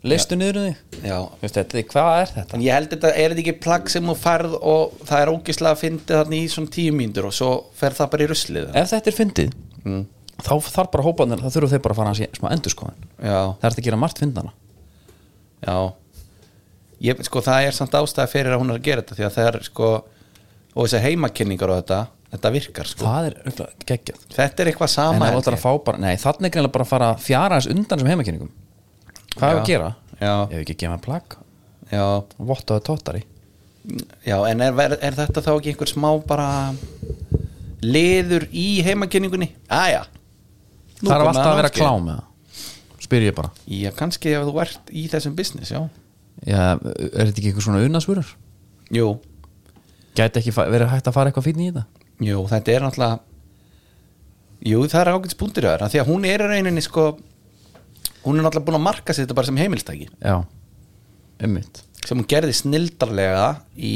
[SPEAKER 1] leistu niður um þig
[SPEAKER 2] já
[SPEAKER 1] Veistu, þetta, er- hvað er þetta?
[SPEAKER 2] En ég held þetta, er þetta ekki plagg sem þú færð og það er ógislega að fyndi þarna í svona tíu mínútur og svo fer það bara í ruslið
[SPEAKER 1] ef þetta er fyndið þá þarf bara hópanir, þá þurfum þeir bara að fara að sé smá endurskoðin
[SPEAKER 2] Já,
[SPEAKER 1] það er að gera margt fyndana
[SPEAKER 2] Já ég, sko, Það er samt ástæða fyrir að hún er að gera þetta því að það er sko og þessar heimakynningar og þetta þetta virkar sko
[SPEAKER 1] það er örugglega geggjað
[SPEAKER 2] Þetta er eitthvað
[SPEAKER 1] en
[SPEAKER 2] sama
[SPEAKER 1] það
[SPEAKER 2] held
[SPEAKER 1] áttar
[SPEAKER 2] ég.
[SPEAKER 1] að fá bara, nei þannig greinlega bara að fara að fjara þess undan sem heimakynningum hvað er að gera?
[SPEAKER 2] Já.
[SPEAKER 1] ef ekki að gefa plagg,
[SPEAKER 2] já,
[SPEAKER 1] vottaðu tóttari
[SPEAKER 2] já, en er, er, er þetta þá ekki einhver smá bara liður í heimakynningunni? Æja
[SPEAKER 1] það er alltaf að vera klám með það spyr ég bara
[SPEAKER 2] Já, kannski ef þú ert í þessum business, já
[SPEAKER 1] já, er þetta ekki eitthvað svona unnasvörur?
[SPEAKER 2] Jú,
[SPEAKER 1] gæti ekki fa- verið hægt að fara eitthvað fínn í þetta?
[SPEAKER 2] Jú, þetta er náttúrulega Jú, það er ágætis búndir að vera því að hún er í rauninni sko hún er náttúrulega búin að marka sér þetta bara sem heimilstæki
[SPEAKER 1] já, ummitt
[SPEAKER 2] sem hún gerði snildarlega í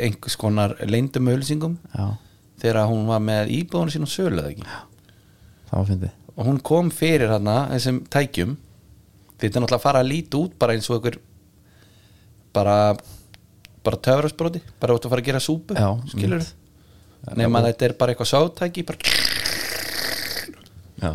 [SPEAKER 2] einhvers konar leyndum auðlýsingum
[SPEAKER 1] já,
[SPEAKER 2] þegar hún var með íbúðunum sín og söluð ekki
[SPEAKER 1] það var fyndið
[SPEAKER 2] og hún kom fyrir hana þessum tækjum því þetta er náttúrulega að fara að líti út bara eins og einhver bara bara töfrasbróti, bara út að fara að gera súpu
[SPEAKER 1] Já,
[SPEAKER 2] skilur þið nema að þetta er bara eitthvað sátæki bara,
[SPEAKER 1] já,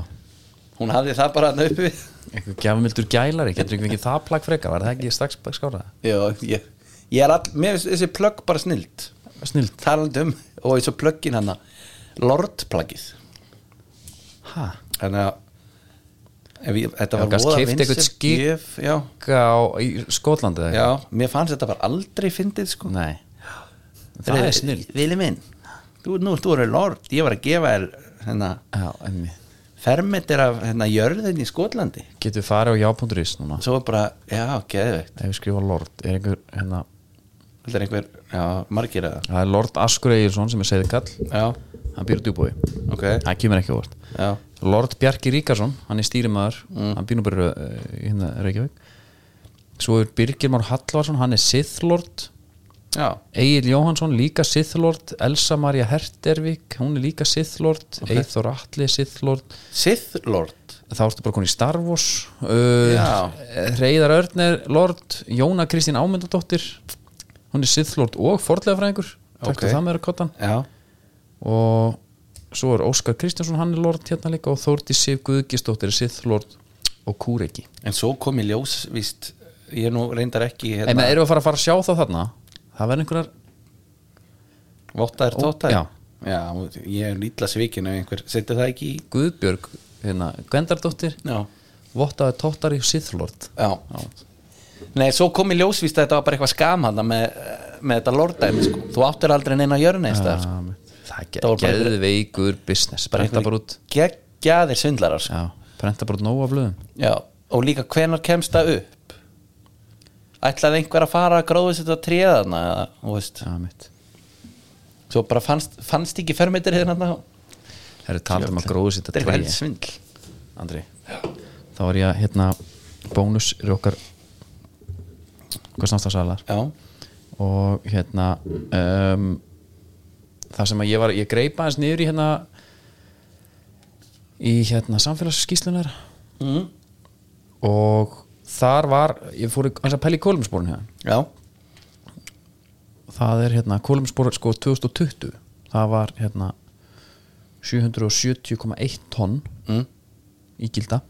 [SPEAKER 2] hún hafði það bara hann uppi við
[SPEAKER 1] eitthvað gefamildur gælari getur ekki fengið það plagg frekar, var það ekki strax skára
[SPEAKER 2] Já, ég, ég er all, mér finnst þessi plögg bara snild
[SPEAKER 1] snilt,
[SPEAKER 2] talandum og eins og plöggin hann Lord-plaggið
[SPEAKER 1] hæ?
[SPEAKER 2] þannig að ef ég, þetta
[SPEAKER 1] Já,
[SPEAKER 2] var
[SPEAKER 1] gast
[SPEAKER 2] voða
[SPEAKER 1] keypt eitthvað
[SPEAKER 2] vinsælt
[SPEAKER 1] skip.
[SPEAKER 2] gjöf, já,
[SPEAKER 1] í Skotlandi eða
[SPEAKER 2] já, mér fannst þetta bara aldrei fyndið sko
[SPEAKER 1] eitthvað? nei það er
[SPEAKER 2] Vili minn, þú, nú ert þú eru lord, ég var að gefa þér hérna,
[SPEAKER 1] já, emmi
[SPEAKER 2] fermetir af hérna, jörðin í Skotlandi
[SPEAKER 1] getur farið á já.is núna
[SPEAKER 2] svo er bara, já, geðveikt
[SPEAKER 1] ef við skrifa Lord er einhver, hérna,
[SPEAKER 2] þetta er einhver, já, margir eða
[SPEAKER 1] það er Lord Askur Egilson sem er segði kall
[SPEAKER 2] já,
[SPEAKER 1] hann býr á djúbói
[SPEAKER 2] ok,
[SPEAKER 1] það kemur ekki á óvart
[SPEAKER 2] já,
[SPEAKER 1] Lord Bjarki Ríkarsson, hann er stýrimaður hann býr nú bara uh, hérna Reykjavík svo er Birgir Már Hallvarsson hann er Sith Lord
[SPEAKER 2] já
[SPEAKER 1] Egil Jóhansson líka Sith Lord Elsa Maria Hertervik, hún er líka Sith Lord Eithor Atli Sith Lord
[SPEAKER 2] Sith Lord,
[SPEAKER 1] þá ertu bara konið í Star Wars uh,
[SPEAKER 2] Já.
[SPEAKER 1] Reyðar Örner Lord, Jóna Kristín Ámyndadóttir hún er Sith Lord og forðlegafræðingur taktu
[SPEAKER 2] Ok.
[SPEAKER 1] það með kottan
[SPEAKER 2] já,
[SPEAKER 1] og svo er Óskar Kristjánsson hann er Lord hérna líka og Þórti Sif Guðgistóttir er Sith Lord og Kúreki
[SPEAKER 2] en svo kom í ljós víst, ég er nú reyndar ekki
[SPEAKER 1] en
[SPEAKER 2] hérna,
[SPEAKER 1] það eru að fara að fara að sjá það þarna það verður einhverjar
[SPEAKER 2] vottaðir
[SPEAKER 1] Ó,
[SPEAKER 2] tótaðir
[SPEAKER 1] já.
[SPEAKER 2] já, ég er lítla svikin ef einhver, setja það ekki í
[SPEAKER 1] Guðbjörg hérna, Gwendardóttir
[SPEAKER 2] já,
[SPEAKER 1] vottaði tóttari Sith Lord
[SPEAKER 2] já, Nei, svo kom í ljós víst að þetta var bara eitthvað skam hana með, með þetta lordæmi sko. þú áttir aldrei neina jörni ja. sko.
[SPEAKER 1] það, það
[SPEAKER 2] Það var bara-
[SPEAKER 1] gerði veikur business, brenta bara út
[SPEAKER 2] sko. geggjaðir svindlarar sko.
[SPEAKER 1] já, brenta bara út nóg af blöðum
[SPEAKER 2] já. og líka hvenar kemst það upp ætlaði einhver að fara að gróðu sér þetta tréðana eða, þú veist.
[SPEAKER 1] já, mitt
[SPEAKER 2] svo bara fannst, fannst ekki fermetir hérna þetta
[SPEAKER 1] Það eru talað um að gróðu sitt að
[SPEAKER 2] er eitthvað
[SPEAKER 1] treyja
[SPEAKER 2] helst svindl
[SPEAKER 1] Andri Þá var ég að hérna bónus er okkar hvað samstagsalar
[SPEAKER 2] já,
[SPEAKER 1] og hérna um, það sem að ég var ég greipa aðeins niður í hérna í hérna samfélagsskíslunar
[SPEAKER 2] mm.
[SPEAKER 1] og þar var ég fór í- aðeins að pæla í kólumsporun hérna
[SPEAKER 2] já,
[SPEAKER 1] og það er hérna kólumsporun sko 2020 það var hérna 770,1 tonn
[SPEAKER 2] mm.
[SPEAKER 1] í gilda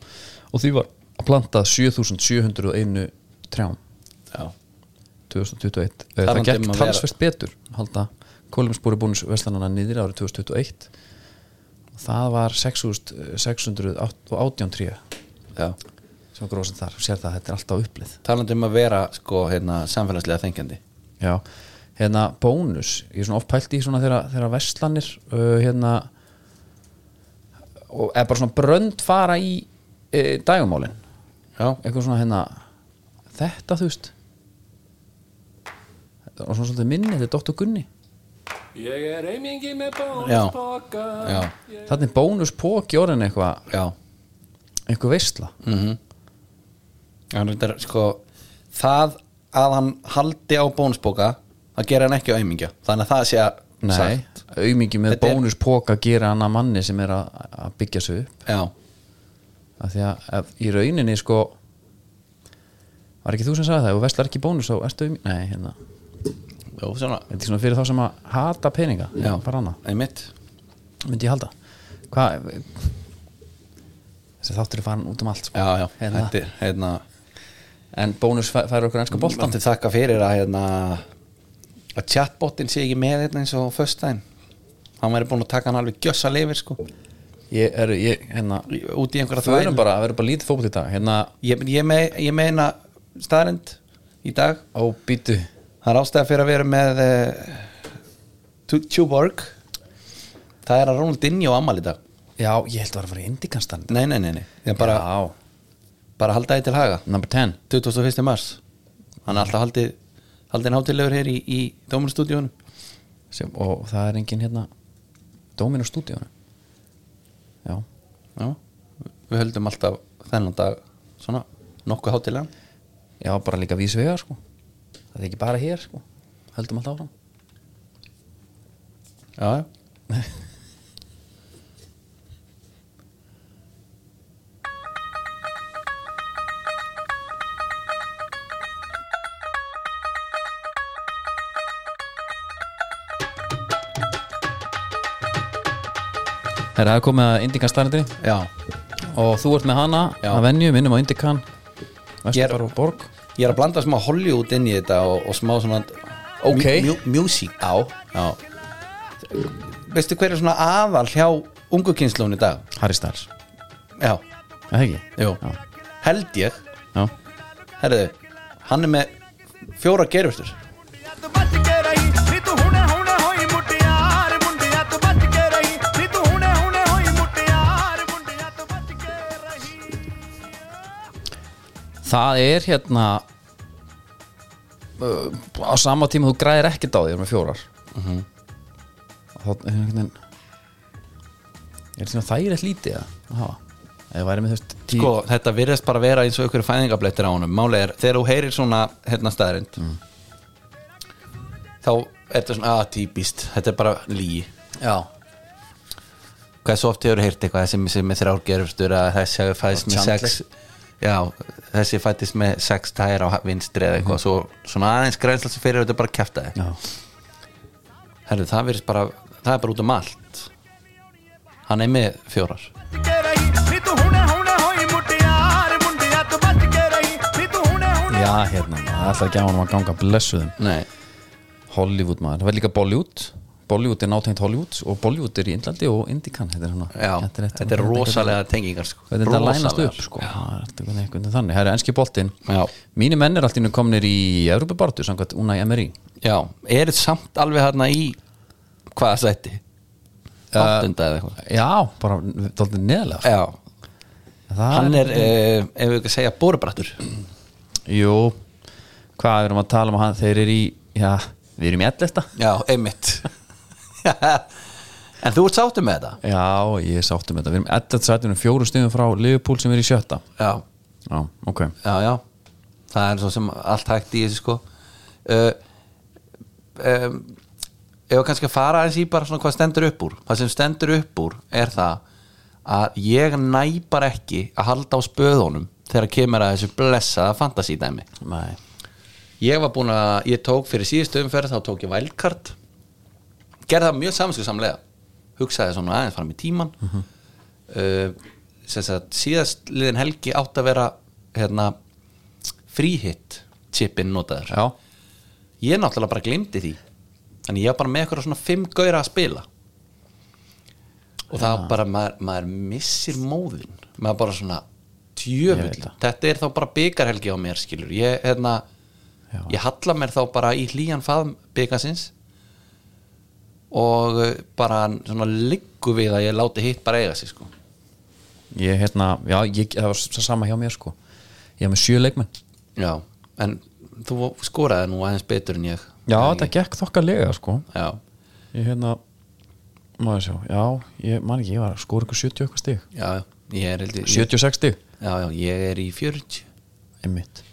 [SPEAKER 1] og því var að plantað 7701 trjám
[SPEAKER 2] já.
[SPEAKER 1] 2021 Eh, það
[SPEAKER 2] Talandi
[SPEAKER 1] gekk
[SPEAKER 2] um að
[SPEAKER 1] talsvert betur halda kolumspúri búnus verslanana niður árið 2021 og það var eh, 6618 tríu
[SPEAKER 2] já.
[SPEAKER 1] sem gróðsinn þar, sér það að þetta er alltaf upplið
[SPEAKER 2] talandi um að vera sko, hérna, samfélagslega þengjandi
[SPEAKER 1] já, hérna bónus ég er svona ofpælt í svona þegar, þegar verslanir uh, hérna og er bara svona brönd fara í e, dagumálin
[SPEAKER 2] já,
[SPEAKER 1] eitthvað svona hérna þetta þú veist og svona svolítið minni, þetta er Dr. Gunni
[SPEAKER 4] Ég er eimingi með
[SPEAKER 2] Já.
[SPEAKER 4] bónuspoka
[SPEAKER 2] já,
[SPEAKER 1] þannig er bónus póki orðin eitthvað
[SPEAKER 2] já
[SPEAKER 1] eitthvað veistla
[SPEAKER 2] hann reyndar sko það að hann haldi á bónusbóka það gerir hann ekki aumingja þannig að það sé að
[SPEAKER 1] nei,
[SPEAKER 2] sagt.
[SPEAKER 1] aumingi með
[SPEAKER 2] Mm, Þetta er-
[SPEAKER 1] bónus póka gera hann að manni sem er að, að byggja sig upp
[SPEAKER 2] já,
[SPEAKER 1] af því að ef, í rauninni sko var ekki þú sem sagði það ef þú veistlar ekki bónus þá ertu aumingi nei, hérna,
[SPEAKER 2] já, svona
[SPEAKER 1] þetta er svona fyrir þá sem að hata peninga,
[SPEAKER 2] já,
[SPEAKER 1] bara annað
[SPEAKER 2] einmitt
[SPEAKER 1] myndi ég halda hvað þessi þáttur er farin út um allt sko.
[SPEAKER 2] já, já,
[SPEAKER 1] hérna.
[SPEAKER 2] þetta er hérna
[SPEAKER 1] en bónus fæ- færir okkur ennska boltan
[SPEAKER 2] Látti þakka fyrir að hérna að chatbotin sé ekki með hérna eins og á föstudaginn hann væri búin að taka hann alveg gjössa lifir sko
[SPEAKER 1] ég er, ég, hérna
[SPEAKER 2] út í einhverja
[SPEAKER 1] það verður
[SPEAKER 2] þvæl
[SPEAKER 1] bara, það verður bara lítið fókbútt í dag hérna,
[SPEAKER 2] ég, ég, með, ég meina staðrind í dag
[SPEAKER 1] á bítu
[SPEAKER 2] Það er ástæða fyrir að vera með uh, Tuborg Það er að Ronaldinho ammal í dag
[SPEAKER 1] já, ég held að það var að fara í indikanstan
[SPEAKER 2] Nei, nei, nei, nei Ég bara,
[SPEAKER 1] já,
[SPEAKER 2] bara halda þið til haga
[SPEAKER 1] number 10
[SPEAKER 2] 21. mars Hann er alltaf haldið haldið náttúrulegur hér í, í Dómunstúdíunum
[SPEAKER 1] sem, og það er engin hérna dómin á stúdíónu já,
[SPEAKER 2] Já, við höldum alltaf þennan dag svona nokkuð hátilega
[SPEAKER 1] já, bara líka vísu vegar sko það er ekki bara hér sko höldum allt áfram
[SPEAKER 2] Já, já
[SPEAKER 1] Herra, það er komið að indikanstarindri
[SPEAKER 2] Já,
[SPEAKER 1] og þú ert með hana
[SPEAKER 2] Já.
[SPEAKER 1] að venju, minnum á indikan
[SPEAKER 2] Ég er-
[SPEAKER 1] Vesturbæru og Borg
[SPEAKER 2] ég er að blanda smá Hollywood inn í þetta og, og smá svona
[SPEAKER 1] Ok.
[SPEAKER 2] mjú, mjú, Music Já, já Veistu hver er svona aðal hjá ungu kynslun í dag?
[SPEAKER 1] Harry Styles,
[SPEAKER 2] Já,
[SPEAKER 1] er það ekki?
[SPEAKER 2] Jú.
[SPEAKER 1] já,
[SPEAKER 2] held ég
[SPEAKER 1] já.
[SPEAKER 2] Herðu, hann er með fjóra gerustur
[SPEAKER 5] ਮੁੰਡਿਆਂ ਤੂੰ ਬੱਜ ਕੇ ਰਹੀ ਨੀ ਤੂੰ ਹੁਣੇ ਹੁਣੇ ਹੋਈ ਮੁਟਿਆਰ ਮੁੰਡਿਆਂ
[SPEAKER 1] það er hérna uh, á sama tíma þú græðir ekkert á því þú er með fjórar Mhm. og þá er einhvern veginn er þetta þægilegt lítið að hafa ef það væri með þess tíu
[SPEAKER 2] sko, þetta virðist bara vera eins og ykkur fæðingablettir á honum máli er, þegar þú heyrir svona hérna staðarind þá er þetta svona að típist, þetta er bara lí
[SPEAKER 1] já,
[SPEAKER 2] hvað svo oft hefur heyrt eitthvað sem, sem er þrjár gerfstur að þessi hafi fæðist með
[SPEAKER 1] Chandler.
[SPEAKER 2] sex já, þessi fættist með sex tæra á vinstri eða eitthvað svo, svona aðeins grænsla sem fyrir þetta er bara kæftaði
[SPEAKER 1] já,
[SPEAKER 2] Herðu, það virðist bara, það er bara út um allt Hann er með fjórar
[SPEAKER 5] ਬਚ ਕੇ ਰਹੀ ਨੀ ਤੂੰ ਹੁਣੇ ਹੁਣੇ ਹੋਈ ਮੁਟਿਆਰ ਮੁੰਡਿਆ ਤੋਂ ਬਚ ਕੇ ਰਹੀ ਨੀ ਤੂੰ ਹੁਣੇ ਹੁਣੇ
[SPEAKER 1] já hérna það er alltaf ekki á hann að ganga blessuðum
[SPEAKER 2] Nei,
[SPEAKER 1] Hollywood maður, það var líka Bollywood Bollywood er nátengt Hollywood og Bollywood er í Indlandi og Indikan þetta er, svona,
[SPEAKER 2] já, þetta er, rosalega tengingar sko.
[SPEAKER 1] hvernig þetta lænast
[SPEAKER 2] Rosalegar.
[SPEAKER 1] upp sko. Það er alltaf hvernig- hvernig þannig, það er enski boltinn
[SPEAKER 2] Já.
[SPEAKER 1] mínu menn er alltaf komnir í Evrópubartu samkvæmt Unai Emery
[SPEAKER 2] Já, er samt alveg hérna í hvaða sætti? Áttunda eða eitthvað
[SPEAKER 1] já, bara dálítið neðlega sko.
[SPEAKER 2] Uh, Já,
[SPEAKER 1] Það
[SPEAKER 2] hann er, eh, ef við ekki að segja, borubrattur
[SPEAKER 1] jú, hvað erum að tala um hann þeir eru í, já, við erum í ellesta
[SPEAKER 2] Já, einmitt (laughs) En þú ert sáttum með þetta?
[SPEAKER 1] já, ég er sáttum með þetta, við erum ellast sætunum fjóru stöðum frá Liverpool sem er í sjötta
[SPEAKER 2] Já,
[SPEAKER 1] já, ok,
[SPEAKER 2] já, já það er svo sem allt hægt í þessu sko uh, um, ef við kannski að fara aðeins í bara svona hvað stendur upp úr það sem stendur upp úr er það að ég næpar ekki að halda á spöðunum þegar kemur að þessu blessaða fantasídæmi
[SPEAKER 1] nei
[SPEAKER 2] ég var búin að, ég tók fyrir síðustu umferð þá tók ég vælkart gerði það mjög samskuðsamlega hugsaði svona aðeins fara með tíman mm -hmm. uh, síðast liðin helgi átt að vera hérna fríhitt chipin notaður
[SPEAKER 1] já,
[SPEAKER 2] ég náttúrulega bara glimti því þannig ég var bara með eitthvað svona fimm gauðra að spila og það var bara maður, maður missir móðin maður bara svona
[SPEAKER 1] Ég veit
[SPEAKER 2] djöfull
[SPEAKER 1] það.
[SPEAKER 2] þetta er þá bara byggarhelgi á mér skilur ég, hérna,
[SPEAKER 1] já,
[SPEAKER 2] ég halla mér þá bara í hlýjan faðm byggasins og eh, bara svona liggu við að ég láti hitt bara eiga sig sko
[SPEAKER 1] ég hérna, já, ég, það var s- sama hjá mér sko ég hef með sjö leikmenn
[SPEAKER 2] já, en þú skoraði nú aðeins betur en ég
[SPEAKER 1] já, þetta gekk þokkalega sko
[SPEAKER 2] já,
[SPEAKER 1] ég hérna, maður sjá já, ég man ekki, ég var að skora ykkur 70 eitthvað stig
[SPEAKER 2] já, ég er heldur ég,
[SPEAKER 1] 76 stig,
[SPEAKER 2] já, já, ég er í 40
[SPEAKER 1] einmitt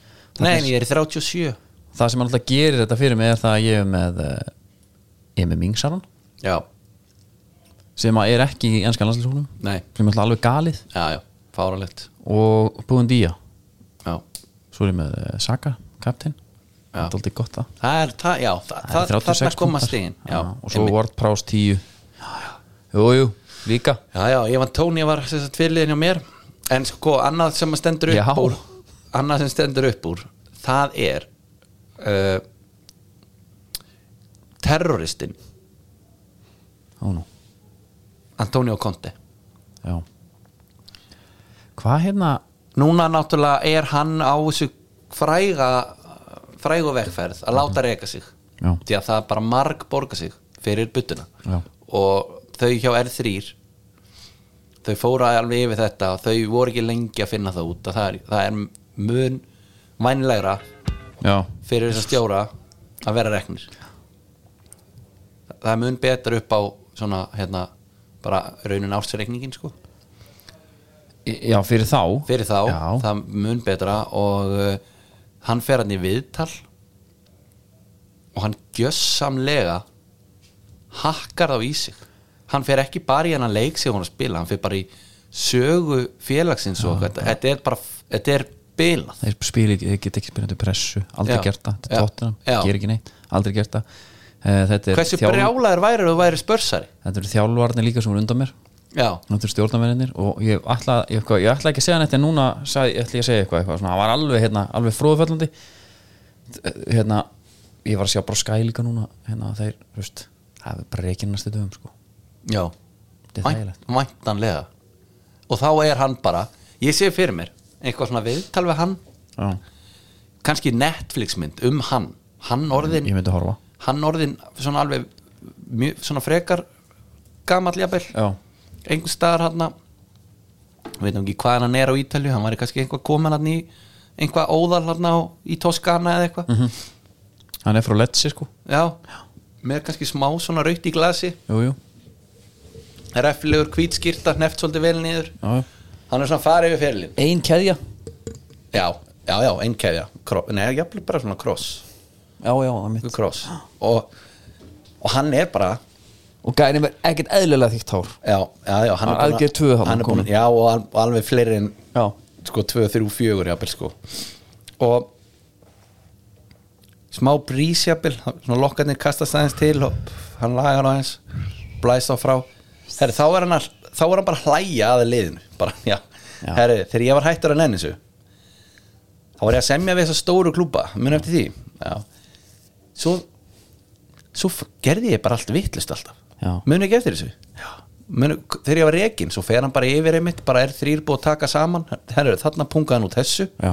[SPEAKER 2] nei, en ég er í 37
[SPEAKER 1] það sem hann alltaf gerir þetta fyrir mig er það að ég er með eh, ég er með Mingsaran
[SPEAKER 2] já,
[SPEAKER 1] sem að er ekki í ennskan landslíkshúnum
[SPEAKER 2] nei,
[SPEAKER 1] sem er alltaf alveg galið
[SPEAKER 2] já, já, fáralegt
[SPEAKER 1] og búin dýja
[SPEAKER 2] já,
[SPEAKER 1] svo er ég með eh, Saka, kaptinn það er alltaf gott það
[SPEAKER 2] það er, það, já, það, það, það, það koma
[SPEAKER 1] punktar.
[SPEAKER 2] stegin
[SPEAKER 1] Já, og svo Ward Prowse 10 jú, jú, líka
[SPEAKER 2] Já, já, ég var Tóni, ég var sem sagt fyrirliðin hjá mér En sko, annað sem að stendur upp
[SPEAKER 1] Já.
[SPEAKER 2] úr Annað sem stendur upp úr Það er uh, Terroristin
[SPEAKER 1] Ó, nú.
[SPEAKER 2] Antonio Conte
[SPEAKER 1] Já Hvað hérna
[SPEAKER 2] Núna náttúrulega er hann á þessu fræga frægu vegferð að láta reka sig
[SPEAKER 1] Já.
[SPEAKER 2] því að það bara marg borga sig fyrir buttuna
[SPEAKER 1] Já.
[SPEAKER 2] og þau hjá R3 þau fóra alveg yfir þetta og þau voru ekki lengi að finna það út að það er, það er mun vænlegra
[SPEAKER 1] Já,
[SPEAKER 2] fyrir þess að stjóra að vera reknir það er mun betur upp á svona hérna bara raunin ársreikningin sko
[SPEAKER 1] já fyrir þá
[SPEAKER 2] fyrir þá,
[SPEAKER 1] Já,
[SPEAKER 2] það mun betra og uh, hann fer hann í viðtal og hann gjössamlega hakkar þá í sig hann fer ekki bara í hennan leik sem hún er að spila, hann fer bara í sögu félagsins og þetta, þetta er bara þetta er bilað
[SPEAKER 1] Þeir spila ekki, þeir geta ekki spilað undir pressu Aldrei
[SPEAKER 2] Já.
[SPEAKER 1] gert það, þetta
[SPEAKER 2] Já.
[SPEAKER 1] er tóttina
[SPEAKER 2] Já.
[SPEAKER 1] Ger ekki neitt, aldrei gert það Eh, Þetta er,
[SPEAKER 2] hversu brjálaður væri þú væri spörsari
[SPEAKER 1] þetta er þjálfarnir líka sem er undan mér
[SPEAKER 2] já,
[SPEAKER 1] Þetta er stjórnarmennir og ég ætla, ég, eitthvað- ég ætla ekki að segja neitt en núna sag, ég ætla ég að segja eitthvað, eitthvað svona, hann var alveg, hérna, alveg fróðfællandi hérna, ég var að sjá bara skæ líka núna hérna, þeir, þú veist, það er bara reikin næstu dögum, sko,
[SPEAKER 2] já
[SPEAKER 1] þetta er
[SPEAKER 2] Vænt-
[SPEAKER 1] þægilegt
[SPEAKER 2] væntanlega og þá er hann bara, ég sé fyrir mér eitthvað svona viðtal við hann
[SPEAKER 1] Já,
[SPEAKER 2] kannski Netflix mynd um hann hann orðin
[SPEAKER 1] ég myndi horfa
[SPEAKER 2] hann orðin svona alveg mjög, svona frekar gamall jafnvel
[SPEAKER 1] Já,
[SPEAKER 2] einhvers staðar hann veit ekki hvaðan hann er á Ítalju hann var kannski einhver komin hann í einhvað óðal hann á í Toskana eða eitthvað
[SPEAKER 1] hann er frá Letsi sko
[SPEAKER 2] já, með kannski smá svona rautt í glasi
[SPEAKER 1] jú, jú.
[SPEAKER 2] reffilegur hvítskýrta, hneft svolítið vel niður
[SPEAKER 1] Já, já.
[SPEAKER 2] hann er svona farið yfir ferilinn
[SPEAKER 1] ein keðja
[SPEAKER 2] já, já, já, einnkæðja neða, jafnvel bara svona kross
[SPEAKER 1] já, já, það er mitt
[SPEAKER 2] kross og, og hann er bara
[SPEAKER 1] og gæðin er ekkert eðlilega þýtt hár
[SPEAKER 2] já, já, já, hann
[SPEAKER 1] Hann
[SPEAKER 2] er
[SPEAKER 1] aðgerð tvö þarna
[SPEAKER 2] hann er búin,
[SPEAKER 1] komin.
[SPEAKER 2] já, og al- og alveg fleiri en
[SPEAKER 1] já,
[SPEAKER 2] sko 2, 3, 4 jafnvel sko og smá brís jafnvel svona lokkarnir kastast aðeins til og hann lagar á aðeins blæst á frá herri, þá, er hann að, þá er hann bara að hlæja að liðinu bara, já.
[SPEAKER 1] Já.
[SPEAKER 2] Herri, þegar ég var hættur að nenni þessu þá var ég að semja við þessa stóru klúpa mun eftir því já. svo svo f- gerði ég bara allt vittlust
[SPEAKER 1] Já.
[SPEAKER 2] alltaf muni ekki eftir þessu muni, þegar ég var rekin, svo fer hann bara yfir einmitt bara er þrýr búið að taka saman Herru, þarna pungaði hann út þessu
[SPEAKER 1] já,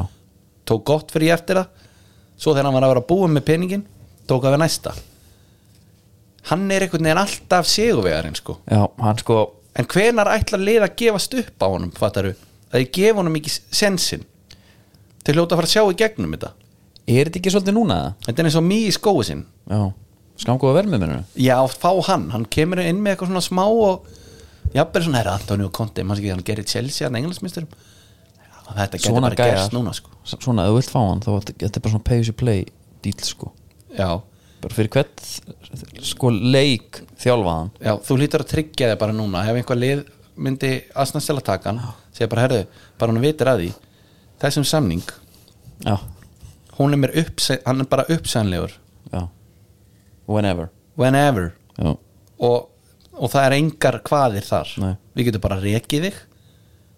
[SPEAKER 2] tók gott fyrir ég eftir það svo þegar hann var að vera búin með peningin tók að við næsta hann er einhvern veginn alltaf sigurvegarinn sko
[SPEAKER 1] já, hann sko
[SPEAKER 2] en hvenar ætlar lið að gefast upp á honum fattaru, að ég gef honum ekki sensin til hljóta að fara að sjá í gegnum þetta
[SPEAKER 1] er þetta ekki svolítið núna eða?
[SPEAKER 2] þetta er eins og mjög í skói sinn
[SPEAKER 1] já, skanguða vel með minnu
[SPEAKER 2] já, fá hann, hann kemur inn með eitthvað svona smá og jafnvel svona, herra, Antonio Conte mann ekki, hann gerir Chelsea hann englandsmyndstur þetta getur
[SPEAKER 1] svona
[SPEAKER 2] bara
[SPEAKER 1] gæja
[SPEAKER 2] gerst núna sko.
[SPEAKER 1] svona, ef þú vilt fá hann þá er þetta þetta er bara svona pay as you play deal sko
[SPEAKER 2] já,
[SPEAKER 1] bara fyrir hvert sko leik þjálfaðan
[SPEAKER 2] já, þú hlýtur að tryggja þig bara núna ef einhver lið myndi aðsnaðstela takan segja bara, herðu, bara hann vitir að því þessum samning,
[SPEAKER 1] já,
[SPEAKER 2] hún er mér uppse hann er bara uppsænlegur
[SPEAKER 1] já, whenever
[SPEAKER 2] whenever
[SPEAKER 1] já,
[SPEAKER 2] og, og það er engar hvaðir þar
[SPEAKER 1] Nei.
[SPEAKER 2] við getum bara rekið þig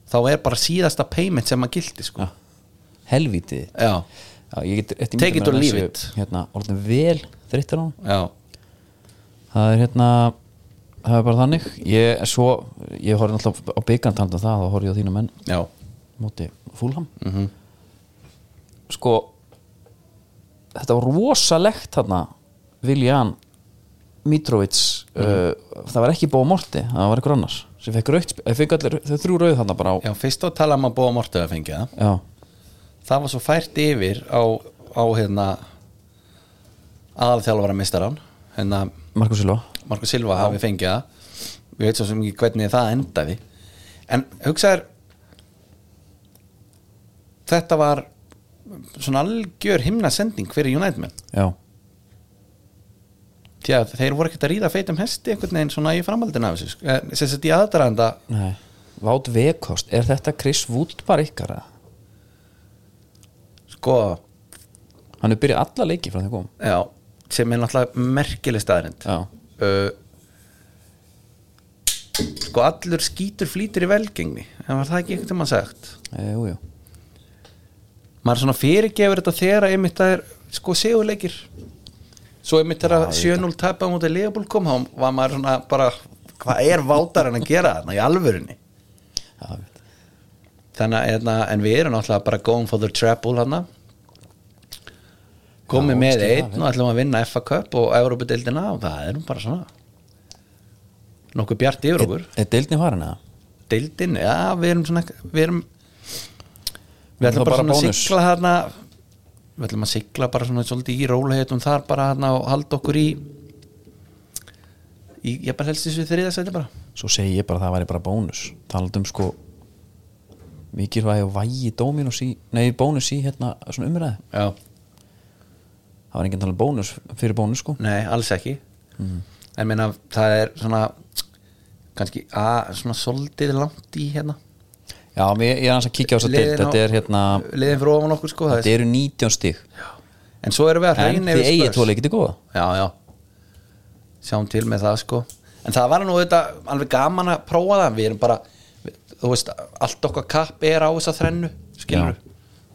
[SPEAKER 2] þá er bara síðasta payment sem að gildi sko.
[SPEAKER 1] já. helvítið
[SPEAKER 2] já,
[SPEAKER 1] já, ég get rétt ímyndað
[SPEAKER 2] Take it
[SPEAKER 1] mér að
[SPEAKER 2] or leave
[SPEAKER 1] þessu,
[SPEAKER 2] it.
[SPEAKER 1] hérna, orðin vel þreyttur á hann
[SPEAKER 2] já,
[SPEAKER 1] það er hérna það er bara þannig ég, er svo, ég horfði náttúrulega á byggandand og það, þá horfði ég á þínu menn
[SPEAKER 2] já,
[SPEAKER 1] móti fúlham sko þetta var rosalegt þarna Viljan Mitrovic uh, það var ekki bóð morti, það var einhver annars sem fekk raukt, það fekk allir, þau þrjú rauð þarna bara á, já,
[SPEAKER 2] já fyrst á að tala um að búa mortu að fengja það
[SPEAKER 1] já,
[SPEAKER 2] það var svo fært yfir á, á hérna aðalþjálfara mistaran hérna
[SPEAKER 1] Markus Silva
[SPEAKER 2] Marko Silva hafi fengið það ég veit svo sem ekki hvernig það endaði en hugsaður þetta var svona algjör himna sending fyrir United menn
[SPEAKER 1] já,
[SPEAKER 2] því að þeir voru ekkert að ríða feitum hesti einhvern veginn svona í framhaldin af þessu sko. Eh, sem sett í aðdraðanda
[SPEAKER 1] nei Vátt Vekost, er þetta Chris Wood bara ykkar eða?
[SPEAKER 2] sko,
[SPEAKER 1] Hann er byrjað alla leiki frá þegar kom
[SPEAKER 2] já, sem er náttúrulega merkileg staðrind
[SPEAKER 1] Já,
[SPEAKER 2] uh, sko allur skítur flýtur í velgengni en var það ekki eitthvað mann sagt
[SPEAKER 1] e, jú, jú
[SPEAKER 2] maður svona fyrirgefur þetta þegar að einmitt það er sko sigurleikir svo einmitt þegar 7-0 tappa á móti Leopold kom, þá var maður svona bara hvað er vátarinn að gera þarna í alvörunni
[SPEAKER 1] Já, ég veit.
[SPEAKER 2] þannig að hérna, en við erum náttúrulega bara going for the treble hann komið
[SPEAKER 1] Já,
[SPEAKER 2] með
[SPEAKER 1] skil það
[SPEAKER 2] einn og ætlum að vinna FA Cup og Európa-deildina og það er nú bara svona nokkuð bjart yfir okkur
[SPEAKER 1] Er deildni farin eða?
[SPEAKER 2] deildin, já, við erum svona við erum við ætlum
[SPEAKER 1] Það
[SPEAKER 2] bara,
[SPEAKER 1] bara
[SPEAKER 2] svona að
[SPEAKER 1] bónus.
[SPEAKER 2] sigla þarna við ætlum að sigla bara svona svolítið í rólehetum þar bara þarna og halda okkur í í, ég bara helst þessu þriðasæti bara
[SPEAKER 1] svo segi ég bara að það væri bara bónus talað um sko mikilvægi og vægi Dominus í nei, bónus í hérna svona umræði
[SPEAKER 2] já,
[SPEAKER 1] það var enginn talað um bónus fyrir bónus sko
[SPEAKER 2] nei, alls ekki Mhm. en meina, það er svona kannski, að, svona svolítið langt í hérna
[SPEAKER 1] já, mér, ég er hans að kíkja á þess að deild
[SPEAKER 2] Liðin á-
[SPEAKER 1] þetta er hérna,
[SPEAKER 2] liðin fyrir ofan okkur sko, það
[SPEAKER 1] þetta eru 19 stig
[SPEAKER 2] er, en svo erum við að
[SPEAKER 1] en
[SPEAKER 2] hreina
[SPEAKER 1] þið eigið
[SPEAKER 2] Spurs.
[SPEAKER 1] tvo leikið til góða
[SPEAKER 2] já, já sjáum til með það sko en það var nú auðvitað alveg gaman að prófa það við erum bara, við- þú veist allt okkar kapp er á þessa þrennu skilur,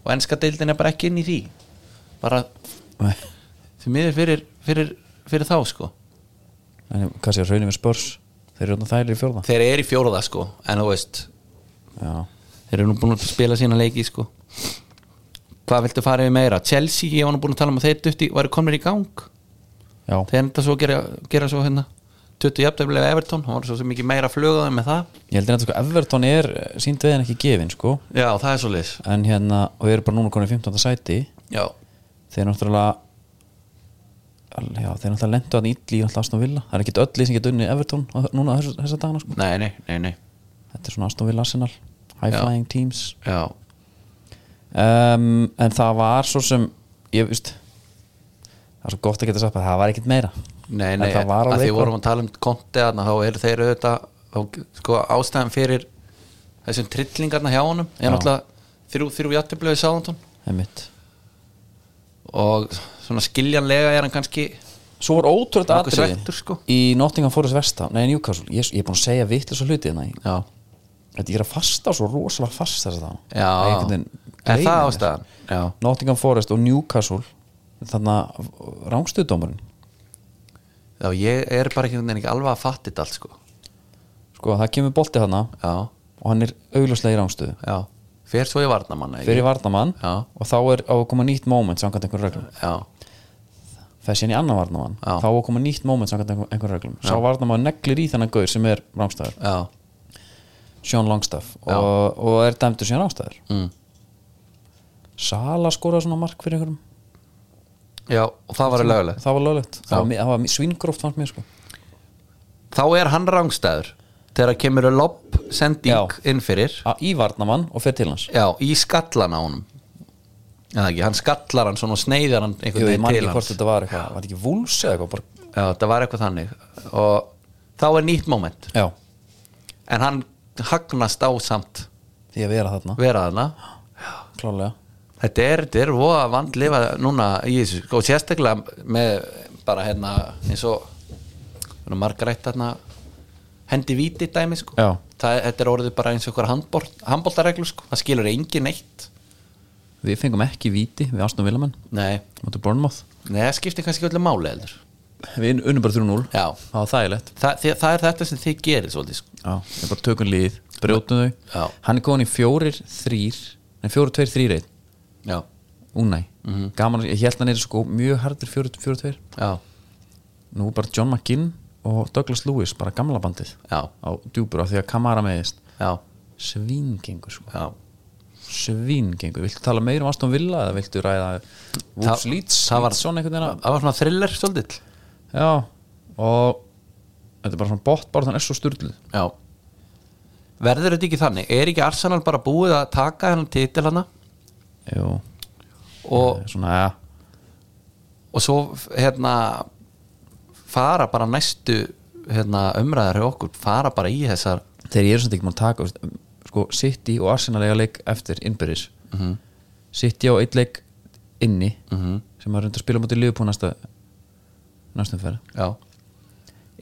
[SPEAKER 2] og ennska deildin er bara ekki inn í því bara
[SPEAKER 1] Nei.
[SPEAKER 2] því miður fyrir, fyrir, fyrir þá sko
[SPEAKER 1] en hvað sé að raunum við spörs þeir eru þarna þælir í fjórða
[SPEAKER 2] þeir eru í fjóruða sko, en þú veist
[SPEAKER 1] já,
[SPEAKER 2] þeir eru nú búin að spila sína leiki sko hvað viltu fara yfir meira Chelsea, ég var nú búin að tala um að þeir dutti, væri komnir í gang
[SPEAKER 1] já,
[SPEAKER 2] þeir enda svo að gera, gera svo hérna 20 jafntefnilega Everton, hún var svo sem mikið meira flugaði með það
[SPEAKER 1] ég heldur að sko, Everton er sínd veginn ekki gefin sko
[SPEAKER 2] já, það er svo leis
[SPEAKER 1] en hérna, og við erum bara núna konið 15. sæti
[SPEAKER 2] já,
[SPEAKER 1] þeir náttúrulega al- já, þeir náttúrulega lendu að ítli í alltaf Aston Villa, það er ekki öll lið sem getur unni Everton á- núna þess, þessa dagana sko
[SPEAKER 2] nei, nei, nei, nei
[SPEAKER 1] þetta er svona Aston Villa Arsenal, high
[SPEAKER 2] Já.
[SPEAKER 1] flying teams
[SPEAKER 2] já,
[SPEAKER 1] um, en það var svo sem ég veist það er svo gott að geta sagt að það var ekkert meira
[SPEAKER 2] nei,
[SPEAKER 1] En
[SPEAKER 2] nei
[SPEAKER 1] það var
[SPEAKER 2] að því
[SPEAKER 1] alveg
[SPEAKER 2] vorum að tala um konti þarna, þá eru þeir auðvitað þá, sko ástæðan fyrir þessum trillingarna hjá honum
[SPEAKER 1] Já.
[SPEAKER 2] er náttúrulega þrjú, þrjú jafntefnilega í Sáðantón
[SPEAKER 1] einmitt
[SPEAKER 2] og svona skiljanlega er hann kannski
[SPEAKER 1] Svo var ótrúlega
[SPEAKER 2] Nokkuð
[SPEAKER 1] atrið
[SPEAKER 2] svekktur, sko.
[SPEAKER 1] í Nottingham Forest Vesta nei, Newcastle, ég, ég er búin að segja vitlega svo hluti hérna í-
[SPEAKER 2] já,
[SPEAKER 1] Þetta ég er að fasta svo rosalega fast þess að
[SPEAKER 2] Já. Er það ástæðan? Já.
[SPEAKER 1] Nottingham Forest og Newcastle þannig að rángstuðdómurinn
[SPEAKER 2] já, ég er bara ekki, ekki alveg að fatta þetta allt sko
[SPEAKER 1] sko, það kemur bolti hana
[SPEAKER 2] já,
[SPEAKER 1] og hann er augljóslega í rángstuðu
[SPEAKER 2] já, fer svo í varnamanna
[SPEAKER 1] fyrir varnamann
[SPEAKER 2] Já.
[SPEAKER 1] og þá er á að koma nýtt moment samkvæmt einhver reglum
[SPEAKER 2] já,
[SPEAKER 1] þessi hann í annan varnamann
[SPEAKER 2] Já.
[SPEAKER 1] þá á að koma nýtt moment samkvæmt einhver, einhver reglum sá varnamann neglir í þennan gaur sem er rángstæður
[SPEAKER 2] já,
[SPEAKER 1] Sean Longstaff og, og er dæmdur síðan ástæður
[SPEAKER 2] Mm.
[SPEAKER 1] Sala skoraði svona mark fyrir einhverjum
[SPEAKER 2] já og það var lögulegt
[SPEAKER 1] það var löglegt,
[SPEAKER 2] Já.
[SPEAKER 1] það var, mi- það var svingróft fannst mér sko
[SPEAKER 2] þá er hann rangstæður þegar kemur lopp sending
[SPEAKER 1] Já.
[SPEAKER 2] inn fyrir
[SPEAKER 1] A, í varnamann og fer til hans
[SPEAKER 2] já, í skallan á honum eða ekki, hann skallar hann svona og sneiðar hann
[SPEAKER 1] Jú,
[SPEAKER 2] einhvern
[SPEAKER 1] ég
[SPEAKER 2] veginn
[SPEAKER 1] man
[SPEAKER 2] til
[SPEAKER 1] ekki hvort
[SPEAKER 2] hans
[SPEAKER 1] þetta var eitthvað, var þetta ekki vúls eða eitthvað bara,
[SPEAKER 2] já, það var eitthvað þannig og þá er nýtt moment
[SPEAKER 1] já,
[SPEAKER 2] en hann hagnast á samt
[SPEAKER 1] því að vera þarna
[SPEAKER 2] vera þarna
[SPEAKER 1] klálega,
[SPEAKER 2] Þetta er, þetta er voða vandlifa núna í þessu, sko, sérstaklega með bara hérna eins og hérna, margarætt hérna hendi víti dæmi, sko
[SPEAKER 1] Já.
[SPEAKER 2] það, þetta er orðið bara eins og okkur handbóltareglu, sko, það skilur engin neitt
[SPEAKER 1] við fengum ekki víti við Aston Villamenn,
[SPEAKER 2] Nei,
[SPEAKER 1] mútu Bournemouth
[SPEAKER 2] Nei það skiptir kannski öllu máli heldur
[SPEAKER 1] við unnum bara 3-0,
[SPEAKER 2] Já,
[SPEAKER 1] það var þægilegt
[SPEAKER 2] það, því, það er þetta sem þið gerir svolítið, sko
[SPEAKER 1] já, við bara tökum líð, brjótum þau
[SPEAKER 2] Já.
[SPEAKER 1] hann er góðan í fjórir, þrýr nei, fjórir, tveir, þrýr, einn,
[SPEAKER 2] Já,
[SPEAKER 1] únæ gaman, ég held hann er sko mjög hardur fjórir, fjórir, tveir
[SPEAKER 2] já,
[SPEAKER 1] nú bara John McGinn og Douglas Lewis bara gamla bandið
[SPEAKER 2] Já.
[SPEAKER 1] á djúpur á því að Kamara meðist
[SPEAKER 2] já,
[SPEAKER 1] svingengur sko
[SPEAKER 2] já
[SPEAKER 1] svingengur, viltu tala meir um Aston Villa eða viltu ræða Wolves Leeds
[SPEAKER 2] það var,
[SPEAKER 1] Leeds, svona einhvern veginn að-
[SPEAKER 2] það var svona thriller svolítið
[SPEAKER 1] já og þetta er bara svona bótt bara þannig er svo styrluð
[SPEAKER 2] Já Verður þetta ekki þannig? Er ekki Arsenal bara búið að taka hennan titil hana
[SPEAKER 1] Jú,
[SPEAKER 2] og,
[SPEAKER 1] svona ja,
[SPEAKER 2] og svo hérna fara bara næstu hérna, umræðar hjá okkur fara bara í þessar
[SPEAKER 1] þegar ég er svona ekki mann að taka veist, sko City og Arsenal eiga leik eftir innbyrðis City á eitt leik inni sem að reynda að spila mútið liðbúið næsta næstum ferð
[SPEAKER 2] já.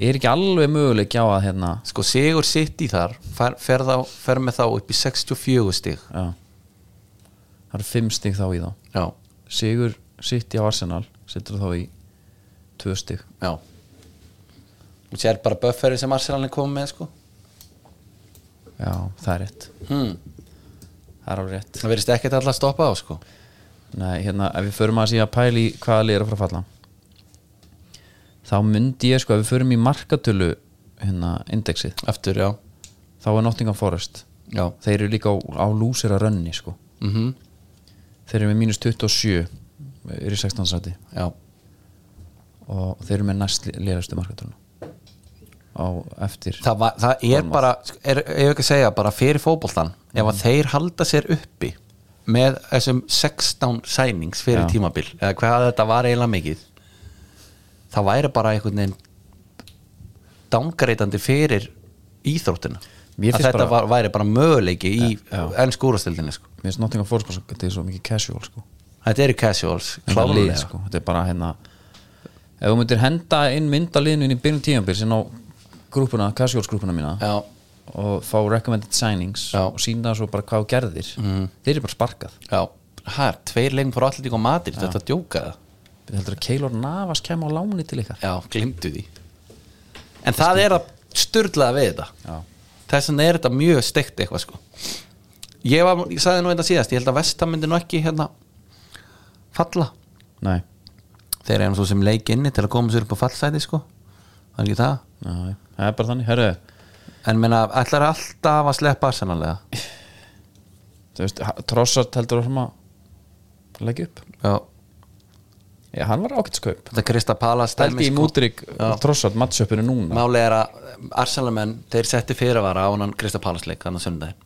[SPEAKER 1] er ekki alveg möguleik á að hérna
[SPEAKER 2] sko Sigur sitt í þar fer, fer, þá, fer með þá upp í 64 stig
[SPEAKER 1] já, það eru fimm stig þá í þá
[SPEAKER 2] já,
[SPEAKER 1] Sigur sitt í Arsenal setur þá í tvö stig
[SPEAKER 2] já og sér bara bufferi sem Arsenal er komið með sko
[SPEAKER 1] já, það er rétt
[SPEAKER 2] hmm.
[SPEAKER 1] það er alveg rétt
[SPEAKER 2] það verðist ekkert alltaf að stoppa á sko
[SPEAKER 1] Nei, hérna, ef við förum að síðan pæli hvaða lið er að fara að falla þá myndi ég sko ef við förum í markatölu hérna, indexið
[SPEAKER 2] eftir, já,
[SPEAKER 1] þá er Nottingham Forest
[SPEAKER 2] já.
[SPEAKER 1] þeir eru líka á, á lúsera rönni sko.
[SPEAKER 2] Mm
[SPEAKER 1] þeir eru með mínus 27 eru í 16 sæti
[SPEAKER 2] já
[SPEAKER 1] og þeir eru með næst lélustu markatöluna á eftir
[SPEAKER 2] það, var, það er
[SPEAKER 1] Bournemouth.
[SPEAKER 2] bara er, ef ekki að segja, bara fyrir fótboltan ef
[SPEAKER 1] Mhm.
[SPEAKER 2] að þeir halda sér uppi með þessum 16 sænings fyrir
[SPEAKER 1] Já.
[SPEAKER 2] tímabil, eða hvað þetta var eiginlega mikið það væri bara einhvern veginn dangreitandi fyrir íþróttina
[SPEAKER 1] Mér
[SPEAKER 2] að
[SPEAKER 1] finnst
[SPEAKER 2] þetta
[SPEAKER 1] bara-
[SPEAKER 2] var, væri bara möguleiki í ennsku úrastildinni sko.
[SPEAKER 1] mér finnst Nottingham Forest bara svo- þetta er svo mikið casual sko.
[SPEAKER 2] þetta eru casuals,
[SPEAKER 1] Þetta er
[SPEAKER 2] klálega
[SPEAKER 1] lið, sko. þetta er bara hérna ef þú myndir henda inn myndaliðinu inn í byrjun tíðanbyrj sem á grúpuna, casuals grúpuna mína
[SPEAKER 2] já,
[SPEAKER 1] og fá recommended signings
[SPEAKER 2] Já. Mhm.
[SPEAKER 1] og sína svo bara hvað þú gerðir mm. þeir eru bara sparkað
[SPEAKER 2] já, það er tveir leikn fyrir allir og matir, þetta djókaða
[SPEAKER 1] við heldur að Keylor Navas kem á láni til ykkar
[SPEAKER 2] Já, glimtu því En það er að sturlaða við þetta
[SPEAKER 1] Já.
[SPEAKER 2] Þess vegna er þetta mjög steikt eitthvað sko Ég, var, ég sagði nú þetta síðast Ég held að Vestam myndi nú ekki hérna falla
[SPEAKER 1] nei,
[SPEAKER 2] Þeir eru svo sem leik inni til að koma sér upp á fallsæti sko Það er ekki það
[SPEAKER 1] já, það er bara þannig, herru
[SPEAKER 2] en meina, ætlar alltaf að sleppa arsenalega
[SPEAKER 1] þú veist, ha- Trossard heldur áfram að leggja upp
[SPEAKER 2] já,
[SPEAKER 1] já, hann var ákveðskaup
[SPEAKER 2] þetta Krista Pala
[SPEAKER 1] Stældi í Mútrík og Trossard mattsöpunu núna
[SPEAKER 2] Máli sko. er að Arsenalmenn þeir setti fyrirvara á hann Krista Pálasleik þannig að sundaginn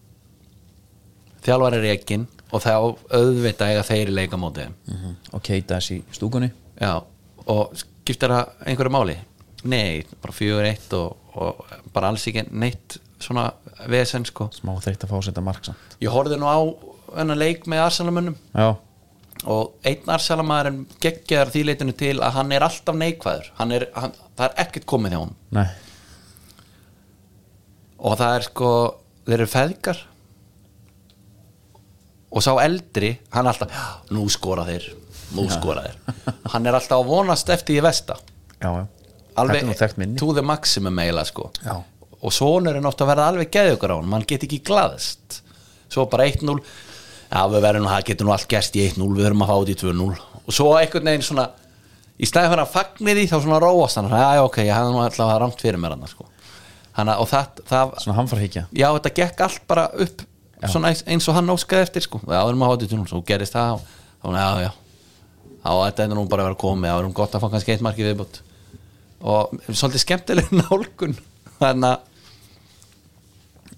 [SPEAKER 2] þjálfari er ekkin og þá auðvitað eiga þeir í leikamóti mm.
[SPEAKER 1] Mhm. og Keita þess í stúkunni
[SPEAKER 2] já, og skiptir það einhverju máli? Nei, bara fjögur eitt og, og bara alls ekki neitt svona vesen sko
[SPEAKER 1] smá þreytt að fá að setja mark samt
[SPEAKER 2] ég horfði nú á hennar leik með Arsenalmönnum
[SPEAKER 1] já,
[SPEAKER 2] og einn Arsenalmaðurinn geggjar því leitinu til að hann er alltaf neikvæður hann er, hann, það er ekkert komið hjá hann
[SPEAKER 1] nei,
[SPEAKER 2] og það er sko þeir eru feðgar og sá eldri hann er alltaf, "Já, nú skora þeir nú skora þeir hann er alltaf að vonast eftir í vesta
[SPEAKER 1] já, já þetta er nú þekkt
[SPEAKER 2] alveg
[SPEAKER 1] minni
[SPEAKER 2] to the maximum eiginlega sko
[SPEAKER 1] Já.
[SPEAKER 2] og sonurinn oft að verða alveg geðugur á hann mann get ekki glaðist svo bara 1-0 já við verðum nú, það getur nú allt gerst í 1-0 við verðum að fá þetta í 2-0 og svo einhvern veginn svona í stæði fyrir að fagnir því þá svona róast hann já ok, ég hafði nú alltaf að ramt fyrir mér hann sko. Hanna, og það, það
[SPEAKER 1] svona hamfarhyggja
[SPEAKER 2] já þetta gekk allt bara upp svona eins, eins og hann óskaði eftir sko. já við erum að hátu tjónum, svo gerist það og þá var hann, já já já þetta er nú bara að vera komið, já við erum gott að fá kannski eitt markið viðbútt og svolítið skemmtileg (laughs) nálgun þannig að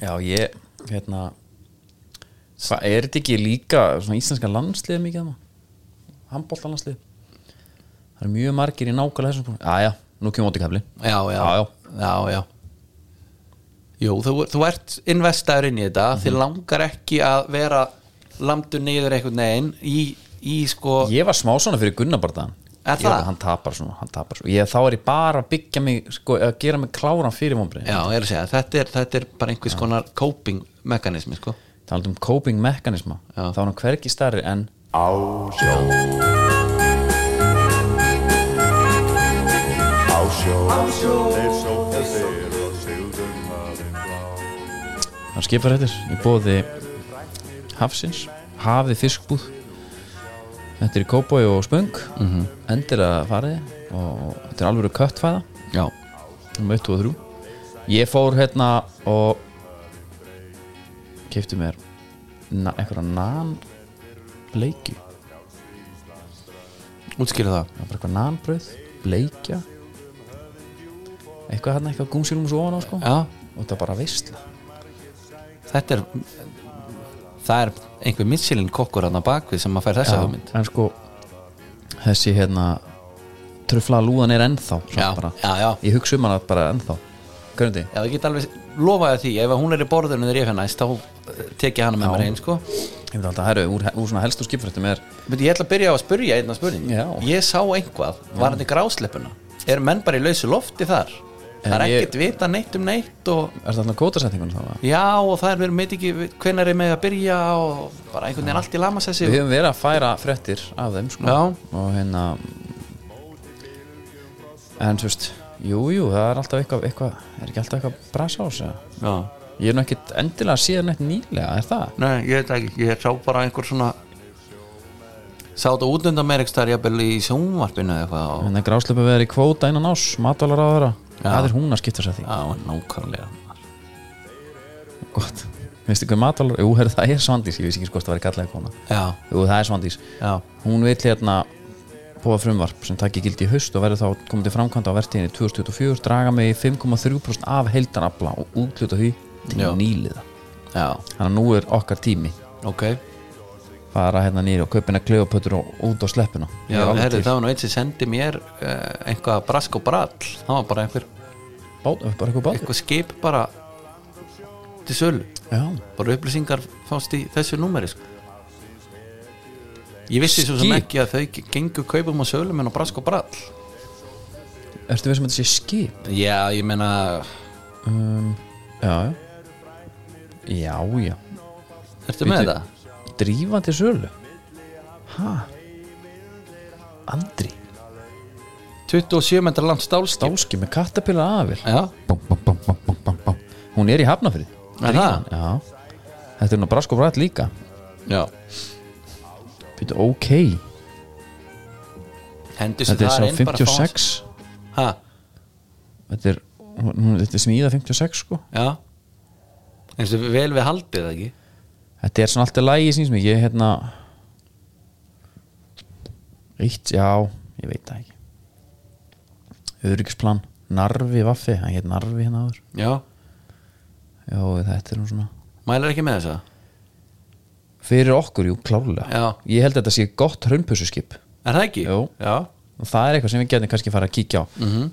[SPEAKER 1] já, ég, hérna hvað er þetta ekki líka svona íslenska landslið mikið þannig handbólta landslið það eru mjög margir í nákvæmlega þessum punktum. já, já, nú kemur óti kefli
[SPEAKER 2] já já
[SPEAKER 1] Já, já.
[SPEAKER 2] já, já. Jú, þú, þú ert investaður inn í þetta mm þið langar ekki að vera landur niður einhvern veginn í, í sko
[SPEAKER 1] ég var smá svona fyrir Gunnar bara þann
[SPEAKER 2] Er
[SPEAKER 1] Ég
[SPEAKER 2] það?
[SPEAKER 1] bara, hann tapar svona, hann tapar svona ég, þá er ég bara að byggja mig sko, að gera mig kláran fyrir vonbrið
[SPEAKER 2] já, ég er að segja, þetta er, þetta er bara einhvers konar coping mekanismi sko
[SPEAKER 1] talað um coping mekanisma
[SPEAKER 2] Já.
[SPEAKER 1] þá er hann hvergi starri en
[SPEAKER 6] Á sjó, þeir sóttu þeir og sigðu maðurinn blá.
[SPEAKER 1] hann skipar hættir í bóði hafsins, hafið fiskbúð þetta er í kópói og spöng mm -hmm. endir að farið og þetta er alveg köttfæða
[SPEAKER 2] já,
[SPEAKER 1] um 1 og 3 ég fór hérna og kefti mér na, einhverja nan bleiki
[SPEAKER 2] útskýra
[SPEAKER 1] það
[SPEAKER 2] það
[SPEAKER 1] var bara eitthvað nanbröð, bleikja eitthvað hérna, eitthvað gúmsilum svo ofan á sko
[SPEAKER 2] já,
[SPEAKER 1] og þetta bara veistla
[SPEAKER 2] þetta er það er einhver missilinn kokkur hann að bakvið sem að fær þessa hugmynd
[SPEAKER 1] en sko þessi hérna trufla lúðan er ennþá samt
[SPEAKER 2] Já,
[SPEAKER 1] bara.
[SPEAKER 2] já, já.
[SPEAKER 1] ég hugsa um hana bara ennþá hvernig
[SPEAKER 2] Já, ég get alveg lofaði því, ef hún er í borðinu þegar ég fyrir næst, þá eh, tek ég hana með
[SPEAKER 1] Já.
[SPEAKER 2] mér einn sko.
[SPEAKER 1] ég veit alltaf, herru, úr, úr svona helstu skipfrættum er
[SPEAKER 2] But ég ætla að byrja á að spurja einna spurning
[SPEAKER 1] Já.
[SPEAKER 2] Ég sá einhvað, var þetta grásleppuna? Er menn bara í lausu lofti þar?
[SPEAKER 1] En
[SPEAKER 2] það er
[SPEAKER 1] ég-
[SPEAKER 2] ekkert vita neitt um neitt og
[SPEAKER 1] er þetta kótasetningun þá? eða?
[SPEAKER 2] já, og það er verið meit ekki hvenær er með að byrja og bara einhvern veginn allt í lama sessi
[SPEAKER 1] við höfum verið að færa fréttir af þeim sko.
[SPEAKER 2] Já.
[SPEAKER 1] og hérna en þú veist jú, jú, það er alltaf eitthvað, eitthvað er ekki alltaf eitthvað brasa á þessu
[SPEAKER 2] Já,
[SPEAKER 1] ég er nú ekkit endilega síðan eitt nýlega er það?
[SPEAKER 2] nei, ég veit ekki, ég sá bara einhver svona Sá þetta útundan mér ekki stær jafnvel í sjónvarpinu eða eitthvað og...
[SPEAKER 1] en það grásleipa Hérna, verið í kvóta innan ás matvalar á þeirra,
[SPEAKER 2] Já.
[SPEAKER 1] það er hún að skipta sér því
[SPEAKER 2] Já, nákvæmlega
[SPEAKER 1] gott, veistu hvað matvalar jú, herri, það er Svandís, ég vissi ekki sko hvort það væri kallega kona
[SPEAKER 2] Já,
[SPEAKER 1] jú, það er Svandís
[SPEAKER 2] já,
[SPEAKER 1] hún vil hérna búa frumvarp sem takki gildi í haust og verður þá komið til framkvæmda á vertíðinni 2024 draga mig í 5,3% af heildanabla og útluta því til
[SPEAKER 2] Já.
[SPEAKER 1] nýliða
[SPEAKER 2] já,
[SPEAKER 1] þannig að nú er okkar tími
[SPEAKER 2] ok
[SPEAKER 1] fara hérna nýri og kaupina klefapötur og út á sleppuna Ég
[SPEAKER 2] Já,
[SPEAKER 1] er alveg
[SPEAKER 2] herri,
[SPEAKER 1] til.
[SPEAKER 2] það var nú einn sem sendi mér uh, einhvað brask og brall það var bara einhver,
[SPEAKER 1] Bát, bara eitthvað bátur
[SPEAKER 2] einhver skip bara til sölu
[SPEAKER 1] Já.
[SPEAKER 2] bara upplýsingar fást í þessu númeri sko. ég vissi svo sem
[SPEAKER 1] Skip?
[SPEAKER 2] ekki að þau gengur kaupum og sölum en á brask og brall
[SPEAKER 1] ertu við sem þetta sé skip?
[SPEAKER 2] Já, ég meina
[SPEAKER 1] Já, já Já, já
[SPEAKER 2] Ertu með
[SPEAKER 1] Bíddu.
[SPEAKER 2] það?
[SPEAKER 1] Drífa til sölu Hæ? Andri
[SPEAKER 2] 27 metrar langt stálskip
[SPEAKER 1] Dáski með kattapilla afil
[SPEAKER 2] Já,
[SPEAKER 1] bum, bum, bum, bum, bum, bum, bum. hún er í hafnafrið
[SPEAKER 2] Er það?
[SPEAKER 1] Já. þetta er nú brask og brætt líka
[SPEAKER 2] já
[SPEAKER 1] Býtu, ok,
[SPEAKER 2] Hendur sem
[SPEAKER 1] þetta er
[SPEAKER 2] það
[SPEAKER 1] sá
[SPEAKER 2] er inn bara
[SPEAKER 1] 56
[SPEAKER 2] Hæ,
[SPEAKER 1] þetta er hún hún- þetta er smíða 56 sko
[SPEAKER 2] já eins og vel við haldið eða ekki
[SPEAKER 1] þetta er svona alltaf lægi síns mikið hérna eitt, já, ég veit það ekki öryggsplan Narvi Vaffi, hann hétt Narvi hérna áður
[SPEAKER 2] já,
[SPEAKER 1] já, þetta er nú svona
[SPEAKER 2] mælar ekki með þessa
[SPEAKER 1] fyrir okkur, jú, klálega
[SPEAKER 2] Já.
[SPEAKER 1] ég held að þetta sé gott hraunpussuskip
[SPEAKER 2] er það ekki?
[SPEAKER 1] Jú.
[SPEAKER 2] já,
[SPEAKER 1] og það er eitthvað sem við getum kannski fara að kíkja á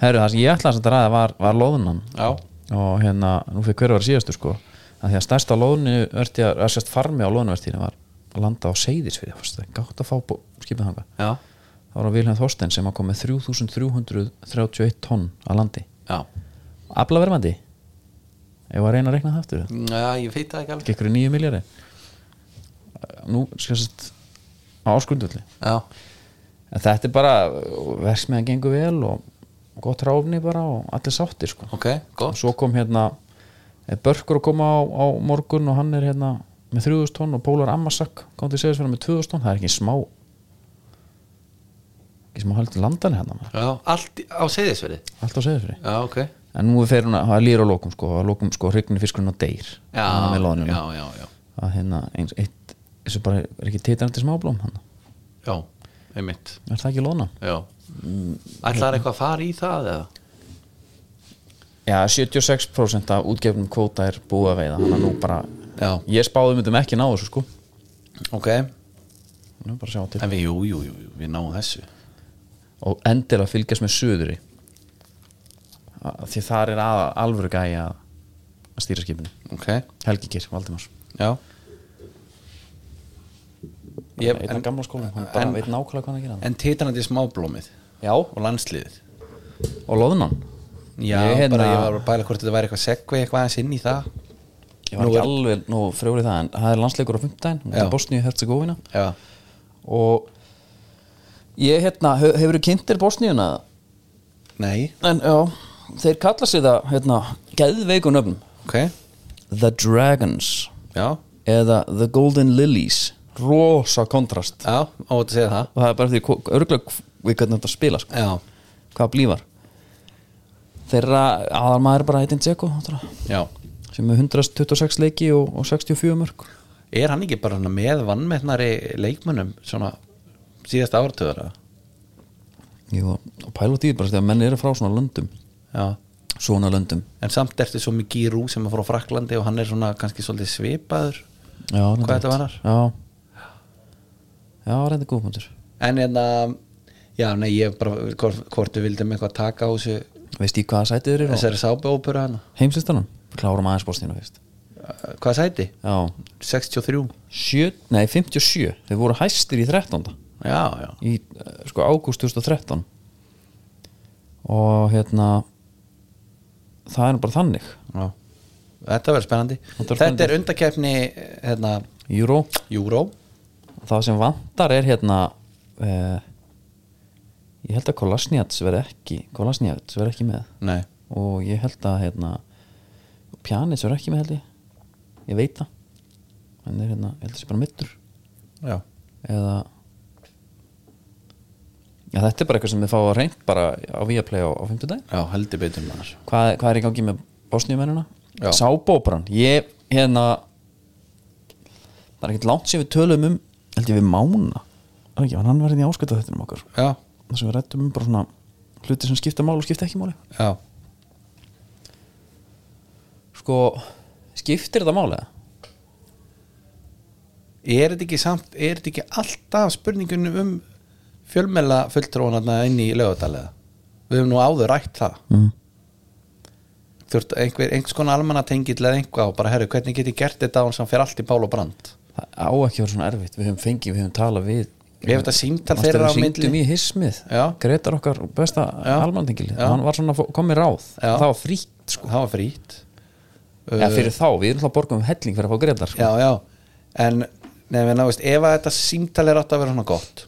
[SPEAKER 1] Herru, það sem ég ætlaði samt að ræða var, var loðunan
[SPEAKER 2] Já.
[SPEAKER 1] og hérna, nú fyrir hverju var síðastu sko að því að stærsta loðnu að sérst farmi á loðnuvertíðinu var að landa á Seyðisfirði, fyrst, það er gátt að fá bó- skipið þangað,
[SPEAKER 2] já,
[SPEAKER 1] það var á Vilhelm Þorstein sem að kom með 3331 tonn að landi,
[SPEAKER 2] já
[SPEAKER 1] aflavermandi ég var að reyna að rekna það aftur
[SPEAKER 2] já, ég veit það ekki alveg
[SPEAKER 1] ekki ykkur nýju miljari nú, sérst á áskundvöldi
[SPEAKER 2] já,
[SPEAKER 1] en þetta er bara verksmiðan gengur vel og gott ráfni bara og allir sáttir sko.
[SPEAKER 2] ok,
[SPEAKER 1] og
[SPEAKER 2] gott
[SPEAKER 1] svo kom hérna eh, Börkur að koma á, á morgun og hann er hérna með 3000 tonn og Pólar Ammasak kom til segjast með 2000 tonn, það er ekki smá ekki smá heldur landan hérna maður,
[SPEAKER 2] já, allt í- á seyðisverði
[SPEAKER 1] allt á segjast
[SPEAKER 2] já, ok
[SPEAKER 1] en nú er hún að það lýra á lókum sko, að lókum sko hrygnir fiskurinn og deyr
[SPEAKER 2] já,
[SPEAKER 1] Hann með loðnuna.
[SPEAKER 2] já, já, já,
[SPEAKER 1] að hérna eins, eitt, þessu bara er ekki titrandi smáblóm hann,
[SPEAKER 2] já, einmitt
[SPEAKER 1] er það ekki lóna?
[SPEAKER 2] já, ætlar Mm. eitthvað að fara í það eða?
[SPEAKER 1] Já, 76% af útgefnum kvóta er búið að veiða hann er nú bara,
[SPEAKER 2] Já.
[SPEAKER 1] ég spáði myndum ekki ná þessu sko
[SPEAKER 2] ok,
[SPEAKER 1] nú bara sjá til
[SPEAKER 2] en við, jú, jú, jú, jú við náum þessu
[SPEAKER 1] og endilega fylgjast með suðuri Að- því þar er að, alvöru gæja að að stýra skipinu
[SPEAKER 2] ok,
[SPEAKER 1] Helgi Kýr, Valdimars
[SPEAKER 2] já ég,
[SPEAKER 1] einn af
[SPEAKER 2] en,
[SPEAKER 1] gamla skólanum, hann bara
[SPEAKER 2] en-
[SPEAKER 1] veit nákvæmlega hvað hann að gera
[SPEAKER 2] en titanandi smáblómið
[SPEAKER 1] Já,
[SPEAKER 2] og landsliðið
[SPEAKER 1] og loðunan
[SPEAKER 2] já,
[SPEAKER 1] Ég hérna-
[SPEAKER 2] bara ég var að bæla hvort þetta væri eitthvað segvei eitthvað aðeins inn í það
[SPEAKER 1] ég var
[SPEAKER 2] Nú
[SPEAKER 1] ekki
[SPEAKER 2] er-
[SPEAKER 1] alveg nú frjórið það en það er landsleikur á fimmtudaginn
[SPEAKER 2] Já.
[SPEAKER 1] á Bosníu Herzegovina
[SPEAKER 2] já,
[SPEAKER 1] og ég hérna, hef, hefur þú kynntir Bosníuna það?
[SPEAKER 2] nei,
[SPEAKER 1] En já, þeir kalla sig það hérna, geðveikun öfnum
[SPEAKER 2] ok
[SPEAKER 1] The Dragons
[SPEAKER 2] já,
[SPEAKER 1] eða The Golden Lilies rosa kontrast
[SPEAKER 2] já, á að segja það
[SPEAKER 1] og það er bara því örgulega við hvernig þetta spila sko.
[SPEAKER 2] já,
[SPEAKER 1] hvað blífar þeirra aðalmaður er bara Eitin Dzeko náttúrulega,
[SPEAKER 2] já
[SPEAKER 1] sem er 126 leiki og, og 64 mörg
[SPEAKER 2] er hann ekki bara svona með vannmennari leikmönnum svona síðasta ártöðara
[SPEAKER 1] Jú, og pælótt í því bara þegar menn eru frá svona löndum
[SPEAKER 2] já,
[SPEAKER 1] svona löndum
[SPEAKER 2] en samt ertu svo mikið í rú sem er frá Fraklandi og hann er svona kannski svolítið svipaður
[SPEAKER 1] já, reyndar
[SPEAKER 2] Hvað þetta
[SPEAKER 1] rétt.
[SPEAKER 2] varðar?
[SPEAKER 1] já, já reynda góðbundur
[SPEAKER 2] en hérna já, nei, ég bara, hvort, hvort við vildum eitthvað taka á þessu,
[SPEAKER 1] veist í hvaða sætið þeir eru
[SPEAKER 2] þessari sábeópura hana
[SPEAKER 1] heimsistanum klárum aðeins bóstinu fyrst
[SPEAKER 2] Uh, hvað sæti?
[SPEAKER 1] já,
[SPEAKER 2] 63
[SPEAKER 1] sjö, nei 57 þeir voru hæstir í 13
[SPEAKER 2] já, já,
[SPEAKER 1] í eh, sko ágúst 2013 og hérna það er nú bara þannig
[SPEAKER 2] já. þetta verður spennandi
[SPEAKER 1] Þetta verður
[SPEAKER 2] þetta,
[SPEAKER 1] spennandi.
[SPEAKER 2] er undarkeppni hérna,
[SPEAKER 1] Euro,
[SPEAKER 2] Euro
[SPEAKER 1] það sem vantar er hérna eh, ég held að Kolasniats verði ekki Kolasniats verði ekki með
[SPEAKER 2] nei,
[SPEAKER 1] og ég held að hérna Pjanits verði ekki með held ég ég veit það hann er hérna, ég held að sé bara mittur
[SPEAKER 2] já,
[SPEAKER 1] eða Já, þetta er bara eitthvað sem þið fá að reynd bara á Viaplay á, á 50 dag
[SPEAKER 2] já heldur betur maður
[SPEAKER 1] hvað, hvað er í gangi með bosníumennina?
[SPEAKER 2] Já.
[SPEAKER 1] Sábóbran, ég hérna það er ekkert langt sem við tölum um held ég við Mána Er það ekki, var hann var hérna í áskölda þetta um okkar
[SPEAKER 2] já,
[SPEAKER 1] það sem við rættum um bara svona hluti sem skipta máli og skipta ekki máli
[SPEAKER 2] já,
[SPEAKER 1] sko, skiptir þetta máli? eða?
[SPEAKER 2] er þetta ekki samt er þetta ekki alltaf spurningunum um fjölmela fulltrónarna inn í lögadalega við höfum nú áður rætt það
[SPEAKER 1] Mm.
[SPEAKER 2] þú ert einhver, einhvers konar almannatengill eða einhvað og bara herru, hvernig get ég gert þetta án sem fer allt í Pál og Brand
[SPEAKER 1] það á ekki að vera svona erfitt, við höfum fengið, við höfum talað við
[SPEAKER 2] Ég hef þetta símtal
[SPEAKER 1] Manstu
[SPEAKER 2] þeirra á
[SPEAKER 1] við hringdum
[SPEAKER 2] milli.
[SPEAKER 1] um í hismið,
[SPEAKER 2] Já.
[SPEAKER 1] Gretar okkar besta
[SPEAKER 2] Já.
[SPEAKER 1] almantingil,
[SPEAKER 2] Já.
[SPEAKER 1] hann var svona komið ráð,
[SPEAKER 2] Já.
[SPEAKER 1] það var fríkt
[SPEAKER 2] það var frýtt
[SPEAKER 1] eða fyrir þá, við erum alltaf borgum helling fyrir að fá Gretar sko.
[SPEAKER 2] já, já en nefnir návist, ef að þetta símtal er átt að vera svona gott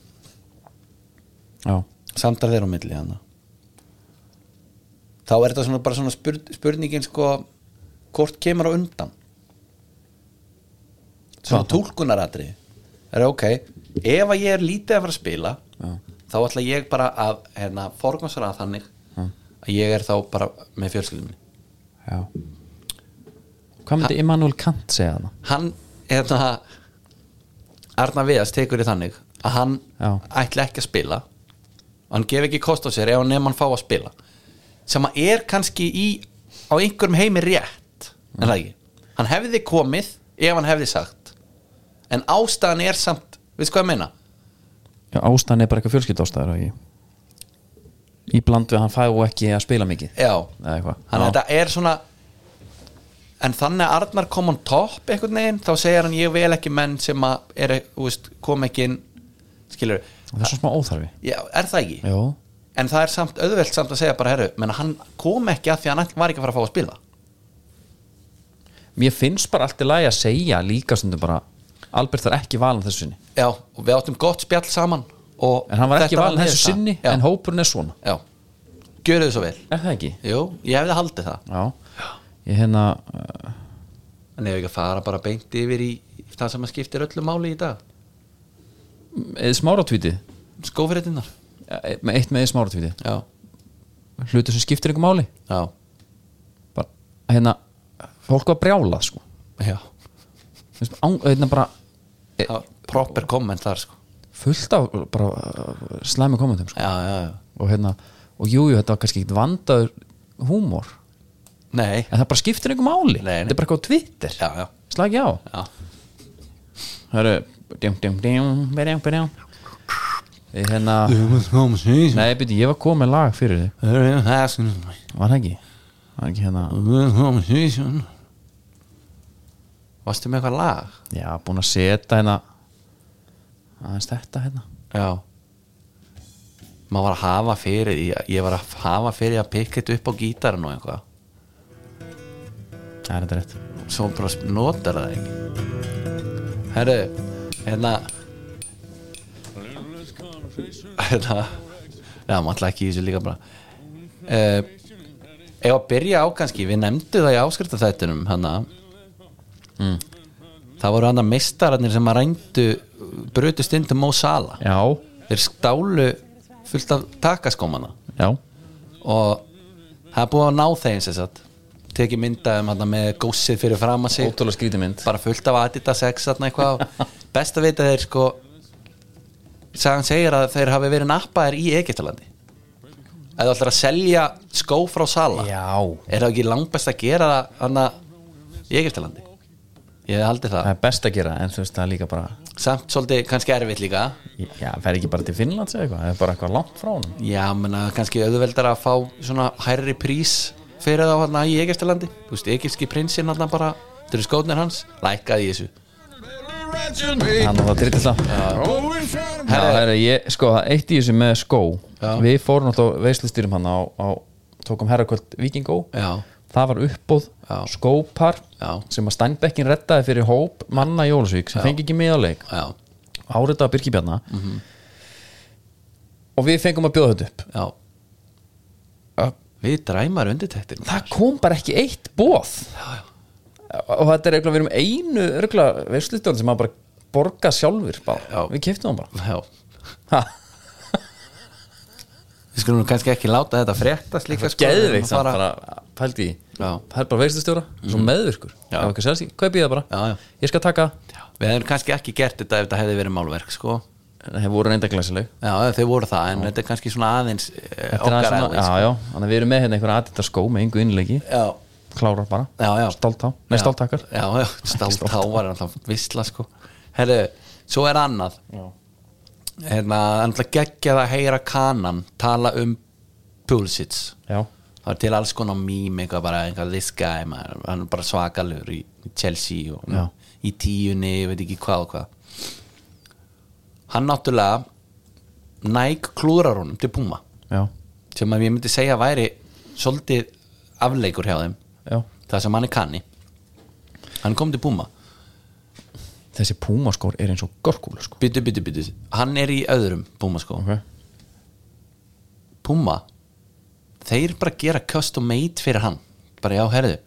[SPEAKER 1] Já.
[SPEAKER 2] samtal þeirra á milli hana þá er þetta svona bara svona spur, spurningin sko hvort kemur á undan svona
[SPEAKER 1] Hvað?
[SPEAKER 2] tólkunaratri það er ok, ef að ég er lítið að fara að spila þá ætla ég bara að hérna, forgansraða þannig að ég er þá bara með fjölskyldum minni
[SPEAKER 1] já hvað myndi Immanuel Kant segja þarna?
[SPEAKER 2] hann hérna, Arna Viðas tekur í þannig að hann
[SPEAKER 1] Já.
[SPEAKER 2] ætli ekki að spila hann gef ekki kost á sér ef hann nefn hann fá að spila sem að er kannski í á einhverjum heimi rétt en það ekki, hann hefði komið ef hann hefði sagt en ástæðan er samt, við sko að meina
[SPEAKER 1] já, ástæðan er bara eitthvað fjölskylda ástæður ekki í bland við að hann fæðu ekki að spila mikið
[SPEAKER 2] já,
[SPEAKER 1] eða eitthvað
[SPEAKER 2] þannig
[SPEAKER 1] Já.
[SPEAKER 2] að þetta er svona en þannig að Arnar kom on top einhvern veginn, þá segir hann ég vel ekki menn sem að er, þú veist, kom ekki inn skilur,
[SPEAKER 1] það er svo smá óþarfi
[SPEAKER 2] já, er það ekki
[SPEAKER 1] já,
[SPEAKER 2] en það er samt auðvelt samt að segja bara herru, menn hann kom ekki að því að hann var ekki að fara að fá að spila
[SPEAKER 1] mér finnst bara allt í lagi að segja líka stundum bara Albert var ekki valin þessu sinni
[SPEAKER 2] já, og við áttum gott spjall saman og
[SPEAKER 1] en hann var ekki
[SPEAKER 2] þetta
[SPEAKER 1] valin þessu
[SPEAKER 2] niðurstaðan.
[SPEAKER 1] sinni
[SPEAKER 2] já,
[SPEAKER 1] en hópurinn er svona
[SPEAKER 2] já, gjöru þið svo vel
[SPEAKER 1] er það ekki?
[SPEAKER 2] jú, ég hefði haldið það
[SPEAKER 1] já, ég hérna uh,
[SPEAKER 2] en ef ekki að fara bara beint yfir í það sem að skiptir öllu máli í dag
[SPEAKER 1] eða smáratvíti
[SPEAKER 2] skófyrirtinnar
[SPEAKER 1] eitt með eða smáratvíti
[SPEAKER 2] já,
[SPEAKER 1] hlutur sem skiptir einhver máli
[SPEAKER 2] já,
[SPEAKER 1] bara, hérna, fólk var brjála sko.
[SPEAKER 2] já
[SPEAKER 1] Þú veist, án- hérna bara
[SPEAKER 2] Það var proper komment þar sko
[SPEAKER 1] fullt af bara, uh, slæmi kommentum sko.
[SPEAKER 2] já, já, já.
[SPEAKER 1] og hérna, og jújú, jú, þetta var kannski ekkit vandaður húmor,
[SPEAKER 2] nei
[SPEAKER 1] en það bara skiptir einhver máli
[SPEAKER 2] Nei, nei.
[SPEAKER 1] þetta er bara eitthvað á Twitter,
[SPEAKER 2] já, já,
[SPEAKER 1] slagi á
[SPEAKER 2] já.
[SPEAKER 1] það eru djum, djum, djum, berjum, berjum Ég hérna, nei, byrju, ég var komið með lag fyrir þig, var það ekki var ekki hérna,
[SPEAKER 2] sko. varstu með eitthvað lag
[SPEAKER 1] já, búin að setja hérna aðeins þetta hérna
[SPEAKER 2] já maður var að hafa fyrir ég, ég var að hafa fyrir að pikka þetta upp á gítarinn og eitthvað
[SPEAKER 1] það er þetta rétt,
[SPEAKER 2] svo bara sp- notar það ekki herru hérna hérna já, maður ætla ekki í þessu líka bara uh, ef að byrja á kannski við nefndu það í áskrifta þættunum hana það voru hann að mistararnir sem að rændu brutust inn til Mó Sala
[SPEAKER 1] já,
[SPEAKER 2] þeir stálu fullt af takaskómana
[SPEAKER 1] já
[SPEAKER 2] og það er búið að ná þeim sem sagt tekið myndaðum hana, með gósið fyrir fram að sig
[SPEAKER 1] ótrúlega skrítið mynd
[SPEAKER 2] bara fullt af Adidas X þarna eitthvað
[SPEAKER 1] (laughs)
[SPEAKER 2] og best að vita þeir sko sagan segir að þeir hafi verið nappaðir í Egyptalandi eða ætlar að selja skó frá sala
[SPEAKER 1] já,
[SPEAKER 2] er það ekki langbest að gera það hana í Egyptalandi ég hef haldið
[SPEAKER 1] það
[SPEAKER 2] það
[SPEAKER 1] er best að gera en þú veist það er líka bara
[SPEAKER 2] samt svolítið kannski erfitt líka
[SPEAKER 1] já, það fer ekki bara til Finnlands eða eitthvað það er bara eitthvað langt frá honum
[SPEAKER 2] já, menna kannski auðveldar að fá svona hærri prís fyrir þá hana í Egyptalandi þú veist, egypski prinsinn hana bara þetta eru skótnir hans, lækkaði í þessu
[SPEAKER 1] hann og það drittir það já, það er ég, sko, það eitt í þessu með skó
[SPEAKER 2] Já.
[SPEAKER 1] við fórum alltaf veislistýrum hann á, á tókum herrakvöld vikingó
[SPEAKER 2] Já.
[SPEAKER 1] það var uppbóð
[SPEAKER 2] Já.
[SPEAKER 1] skópar
[SPEAKER 2] Já.
[SPEAKER 1] sem að Steinbeckin reddaði fyrir hóp manna Jólusvík sem fengi ekki miðaleg
[SPEAKER 2] já,
[SPEAKER 1] áritaða Birkibjarna og við fengum að bjóða þetta upp
[SPEAKER 2] já við dræmar undirtektir
[SPEAKER 1] það kom bara ekki eitt bóð og þetta er eitthvað við erum einu eitthvað veistlutöðan sem að bara borga sjálfur bara.
[SPEAKER 2] Já.
[SPEAKER 1] við keftum hann bara
[SPEAKER 2] Já
[SPEAKER 1] Ha.
[SPEAKER 2] Við skulum nú kannski ekki láta þetta fréttast líka
[SPEAKER 1] (laughs)
[SPEAKER 2] sko,
[SPEAKER 1] geðveikt samt
[SPEAKER 2] Bara-
[SPEAKER 1] bara pældi í
[SPEAKER 2] Já. Mhm.
[SPEAKER 1] það er bara veistustjóra, svo meðvirkur
[SPEAKER 2] Já.
[SPEAKER 1] ef eitthvað selst, kaupi ég það bara
[SPEAKER 2] Já, já.
[SPEAKER 1] ég skal taka,
[SPEAKER 2] Við hefum kannski ekki gert þetta ef þetta hefði verið málverk sko.
[SPEAKER 1] það hefur voru reynda glæsileg
[SPEAKER 2] Já, þau voru það En þetta er kannski svona aðeins eh,
[SPEAKER 1] þetta er
[SPEAKER 2] Okkar
[SPEAKER 1] aðeins svona,
[SPEAKER 2] aðeins
[SPEAKER 1] já, já, þannig að við erum með hérna einhverja aðdita skó með engu innleiki,
[SPEAKER 2] Já,
[SPEAKER 1] klárar bara
[SPEAKER 2] já, já
[SPEAKER 1] stáltá, nei stáltakar
[SPEAKER 2] Já,
[SPEAKER 1] (laughs)
[SPEAKER 2] já, stáltá var alltaf visla sko Herru, svo er annað Já Hérna, alltaf geggjað að heyra kanan Tala um Pulsits
[SPEAKER 1] já,
[SPEAKER 2] það er til alls konar mím eitthvað bara eitthvað this guy maður, hann er bara svakalur í í Chelsea og
[SPEAKER 1] Já.
[SPEAKER 2] í tíunni, ég veit ekki hvað og hvað hann náttúrulega næg klúrar honum til Puma
[SPEAKER 1] já,
[SPEAKER 2] sem að ég myndi segja væri svolítið afleikur hjá þeim
[SPEAKER 1] já
[SPEAKER 2] það sem hann er kanni hann kom til Puma
[SPEAKER 1] þessi púmaskór er eins og gorkúlu sko
[SPEAKER 2] byttu, byttu, byttu, hann er í öðrum Puma sko
[SPEAKER 1] ok,
[SPEAKER 2] Puma þeir bara gera custom made fyrir hann bara já, herðu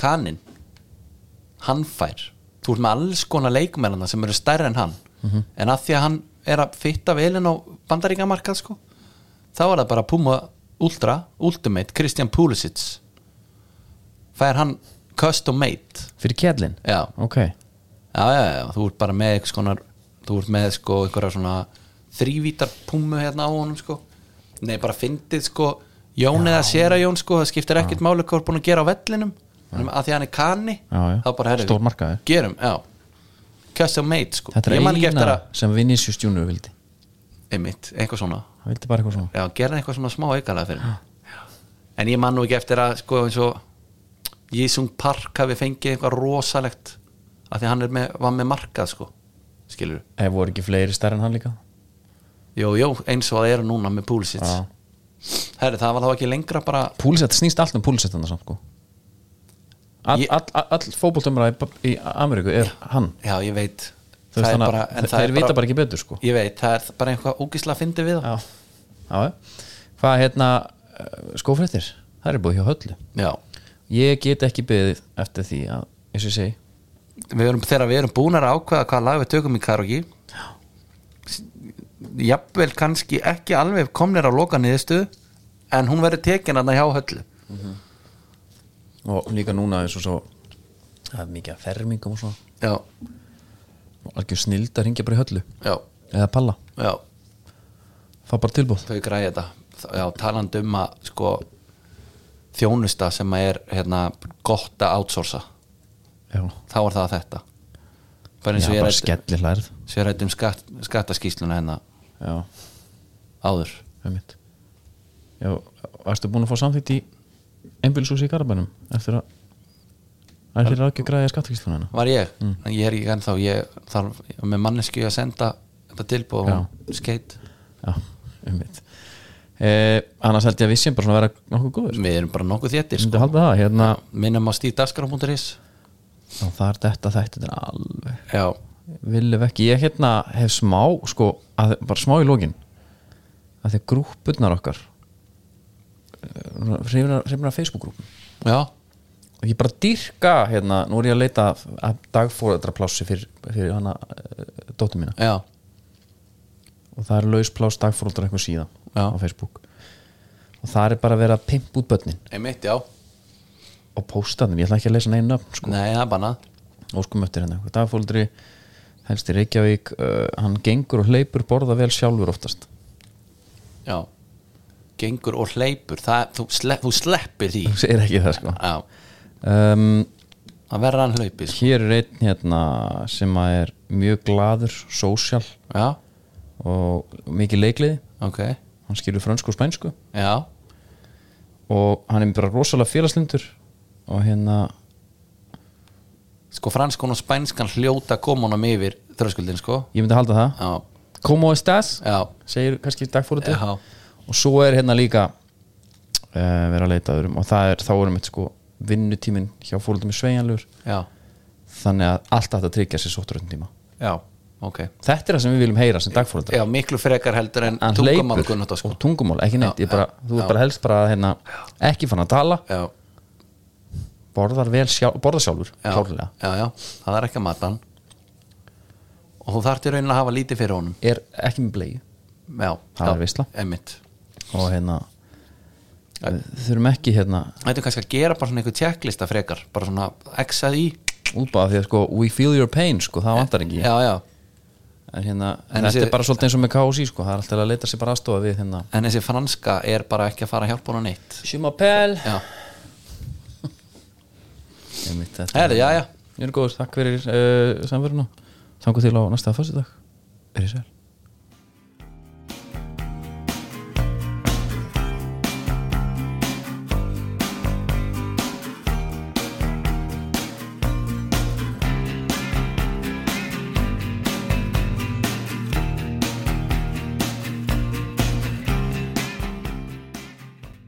[SPEAKER 2] Kanin hann fær þú ert með alls konar leikmennana sem eru stærri en hann en að því að hann er að fitta velin á bandaríkamarkað sko þá er það bara Puma Ultra, Ultimate, Christian Pulisic fær hann custom made
[SPEAKER 1] fyrir kjallin
[SPEAKER 2] já,
[SPEAKER 1] ok,
[SPEAKER 2] já, já, já, þú ert bara með eitthvað skonar, þú ert með sko einhverja svona þrívítar púmu hérna á honum sko, nei bara fyndið sko, Jón eða Sera Jón sko það skiptir ekkert máli hvað er búin að gera á vellinum en að því hann er kanni
[SPEAKER 1] Já, já.
[SPEAKER 2] þá bara herri,
[SPEAKER 1] Stór markaður.
[SPEAKER 2] gerum, já custom made sko,
[SPEAKER 1] þetta
[SPEAKER 2] ég
[SPEAKER 1] er
[SPEAKER 2] man ekki eftir
[SPEAKER 1] eina
[SPEAKER 2] að
[SPEAKER 1] sem Vinicius Junior vildi
[SPEAKER 2] einmitt, eitthvað svona
[SPEAKER 1] hann vildi bara eitthvað svona
[SPEAKER 2] já, gerði eitthvað svona smá aukalega fyrir mig. en ég man nú ekki eftir að sko eins og Jísung Park hafi fengið eitthvað rosalegt af því hann er með, var með markað sko skilur,
[SPEAKER 1] ef voru ekki fleiri stærri en hann líka
[SPEAKER 2] jú, jú, eins og það eru núna með púlsits
[SPEAKER 1] Já.
[SPEAKER 2] herri, það var þá ekki lengra bara
[SPEAKER 1] púlsett, snýst allt um púlsett þannig samt sko all,
[SPEAKER 2] Ég-
[SPEAKER 1] all, all, all fótboltömmara í, í Ameríku er hann
[SPEAKER 2] já, ég veit
[SPEAKER 1] Þú veist,
[SPEAKER 2] Það er
[SPEAKER 1] þannig
[SPEAKER 2] bara-
[SPEAKER 1] að
[SPEAKER 2] en
[SPEAKER 1] þeir
[SPEAKER 2] það er
[SPEAKER 1] vita bara ekki betur, sko.
[SPEAKER 2] ég veit, það er bara eitthvað ógisla að fyndi við það
[SPEAKER 1] já, já já. hvað hérna skófréttir, það er búið hjá höllu
[SPEAKER 2] já,
[SPEAKER 1] ég get ekki beðið eftir því að eins og ég segi,
[SPEAKER 2] við erum, þegar við erum búin að ákveða hvað lag við tökum í karaoke s- jafnvel kannski ekki alveg komnir á loka niðurstöðu en hún verður tekin að það hjá höllu
[SPEAKER 1] og líka núna eins og svo það er mikið að fermingum og svona
[SPEAKER 2] já,
[SPEAKER 1] og algjör snild að ringja bara í höllu
[SPEAKER 2] já,
[SPEAKER 1] eða palla,
[SPEAKER 2] já,
[SPEAKER 1] fá bara tilbúð
[SPEAKER 2] þau græði þetta Þá- já, talandi um að sko þjónusta sem að er hérna, gott að outsourca
[SPEAKER 1] já,
[SPEAKER 2] þá er það þetta bara
[SPEAKER 1] já
[SPEAKER 2] eins og ég
[SPEAKER 1] bara
[SPEAKER 2] ræddi-
[SPEAKER 1] skellir hlærð
[SPEAKER 2] eins og ég rætti um skatt, skattaskísluna hérna
[SPEAKER 1] já,
[SPEAKER 2] áður
[SPEAKER 1] það mitt já, varstu búin að fá samþýtt í einbjölsúsi í Garabænum eftir að Það er þér ekki að græða skattakýstunum hennar
[SPEAKER 2] var ég,
[SPEAKER 1] Mm.
[SPEAKER 2] en ég er ekki ennþá ég þarf með manneski að senda þetta tilbúð og skeitt
[SPEAKER 1] Já, um mitt eh, Annars held ég að við séum bara svona að vera nokkuð góður
[SPEAKER 2] við erum bara nokkuð þéttir
[SPEAKER 1] Myndi
[SPEAKER 2] sko.
[SPEAKER 1] halda það, hérna
[SPEAKER 2] minnum á stíðdaskar.is
[SPEAKER 1] Já, það er þetta þættið er alveg
[SPEAKER 2] já,
[SPEAKER 1] Viljum ekki, ég hérna hef smá sko, að, bara smá í lókin að því að grúppurnar okkar eh, hrifnir að Facebook-grúppum
[SPEAKER 2] já,
[SPEAKER 1] og ég bara dýrka hérna, nú er ég að leita að- að dagfóreldra plássi fyrir, fyrir hana uh, dóttur mína
[SPEAKER 2] já
[SPEAKER 1] og það er laus pláss dagfóreldra eitthvað síðan
[SPEAKER 2] Já.
[SPEAKER 1] á Facebook og það er bara að vera að pimpa út börnin
[SPEAKER 2] einmitt, já,
[SPEAKER 1] og posta þeim, ég ætla ekki að lesa neina nöfn sko.
[SPEAKER 2] nei, það er bara
[SPEAKER 1] óskum eftir henni, einhver dagfóldri helst í Reykjavík, uh, hann gengur og hleypur borða vel sjálfur oftast
[SPEAKER 2] já, gengur og hleypur það, þú, slepp, þú sleppir því
[SPEAKER 1] þú segir ekki það sko
[SPEAKER 2] já,
[SPEAKER 1] um,
[SPEAKER 2] það verður hann hlaupi sko.
[SPEAKER 1] hér er einn hérna sem að er mjög gladur, sósjal
[SPEAKER 2] já,
[SPEAKER 1] og mikið leikliði,
[SPEAKER 2] ok,
[SPEAKER 1] hann skilur frönsku og spænsku
[SPEAKER 2] já
[SPEAKER 1] og hann er bara rosalega félagslindur og hérna
[SPEAKER 2] sko franskon og spænskan hljóta komunum yfir þröskuldin sko
[SPEAKER 1] ég myndi halda það,
[SPEAKER 2] já,
[SPEAKER 1] como estas
[SPEAKER 2] já,
[SPEAKER 1] segir kannski dagfóldri
[SPEAKER 2] já,
[SPEAKER 1] og svo er hérna líka uh, vera að leita öðrum og það er, þá erum við sko vinnutíminn hjá fólöldum í sveianlegur
[SPEAKER 2] já,
[SPEAKER 1] þannig að allt þetta tryggja sér sótturöndum tíma
[SPEAKER 2] já ok
[SPEAKER 1] þetta er það sem við viljum heyra sem dagfólöldar
[SPEAKER 2] Já, miklu frekar heldur en
[SPEAKER 1] hann
[SPEAKER 2] tungumál
[SPEAKER 1] hleypur
[SPEAKER 2] Gunnóta sko.
[SPEAKER 1] og tungumál, ekki neitt
[SPEAKER 2] Já,
[SPEAKER 1] já, bara,
[SPEAKER 2] já,
[SPEAKER 1] þú
[SPEAKER 2] já.
[SPEAKER 1] er bara helst bara að, hérna, ekki fann að tala
[SPEAKER 2] já,
[SPEAKER 1] borðar, vel sjálf, borðar sjálfur
[SPEAKER 2] já,
[SPEAKER 1] klárlega.
[SPEAKER 2] já, já, það er ekki að mata hann og þú þarft í raunin að hafa lítið fyrir honum
[SPEAKER 1] er ekki með blei
[SPEAKER 2] já,
[SPEAKER 1] Það
[SPEAKER 2] já,
[SPEAKER 1] er veisla.
[SPEAKER 2] einmitt.
[SPEAKER 1] og hérna við þurfum ekki hérna
[SPEAKER 2] Þetta er kannski að gera bara svona einhver tjekklista frekar bara svona exað í
[SPEAKER 1] útbáða því að sko we feel your pain sko, það vantar ekki
[SPEAKER 2] já, já.
[SPEAKER 1] en hérna,
[SPEAKER 2] En
[SPEAKER 1] þetta
[SPEAKER 2] þessi-
[SPEAKER 1] er bara svolítið eins og með KOC sko, það er alltaf að leita sér bara aðstofa við hérna
[SPEAKER 2] en þessi franska er bara ekki að fara að hjálpa honum neitt
[SPEAKER 1] Sjumapel
[SPEAKER 2] já,
[SPEAKER 1] Herði,
[SPEAKER 2] herri, já, já
[SPEAKER 1] Ég er góður, takk fyrir uh, samverðinu Þangu til á næsta fyrstu dag Er ég sér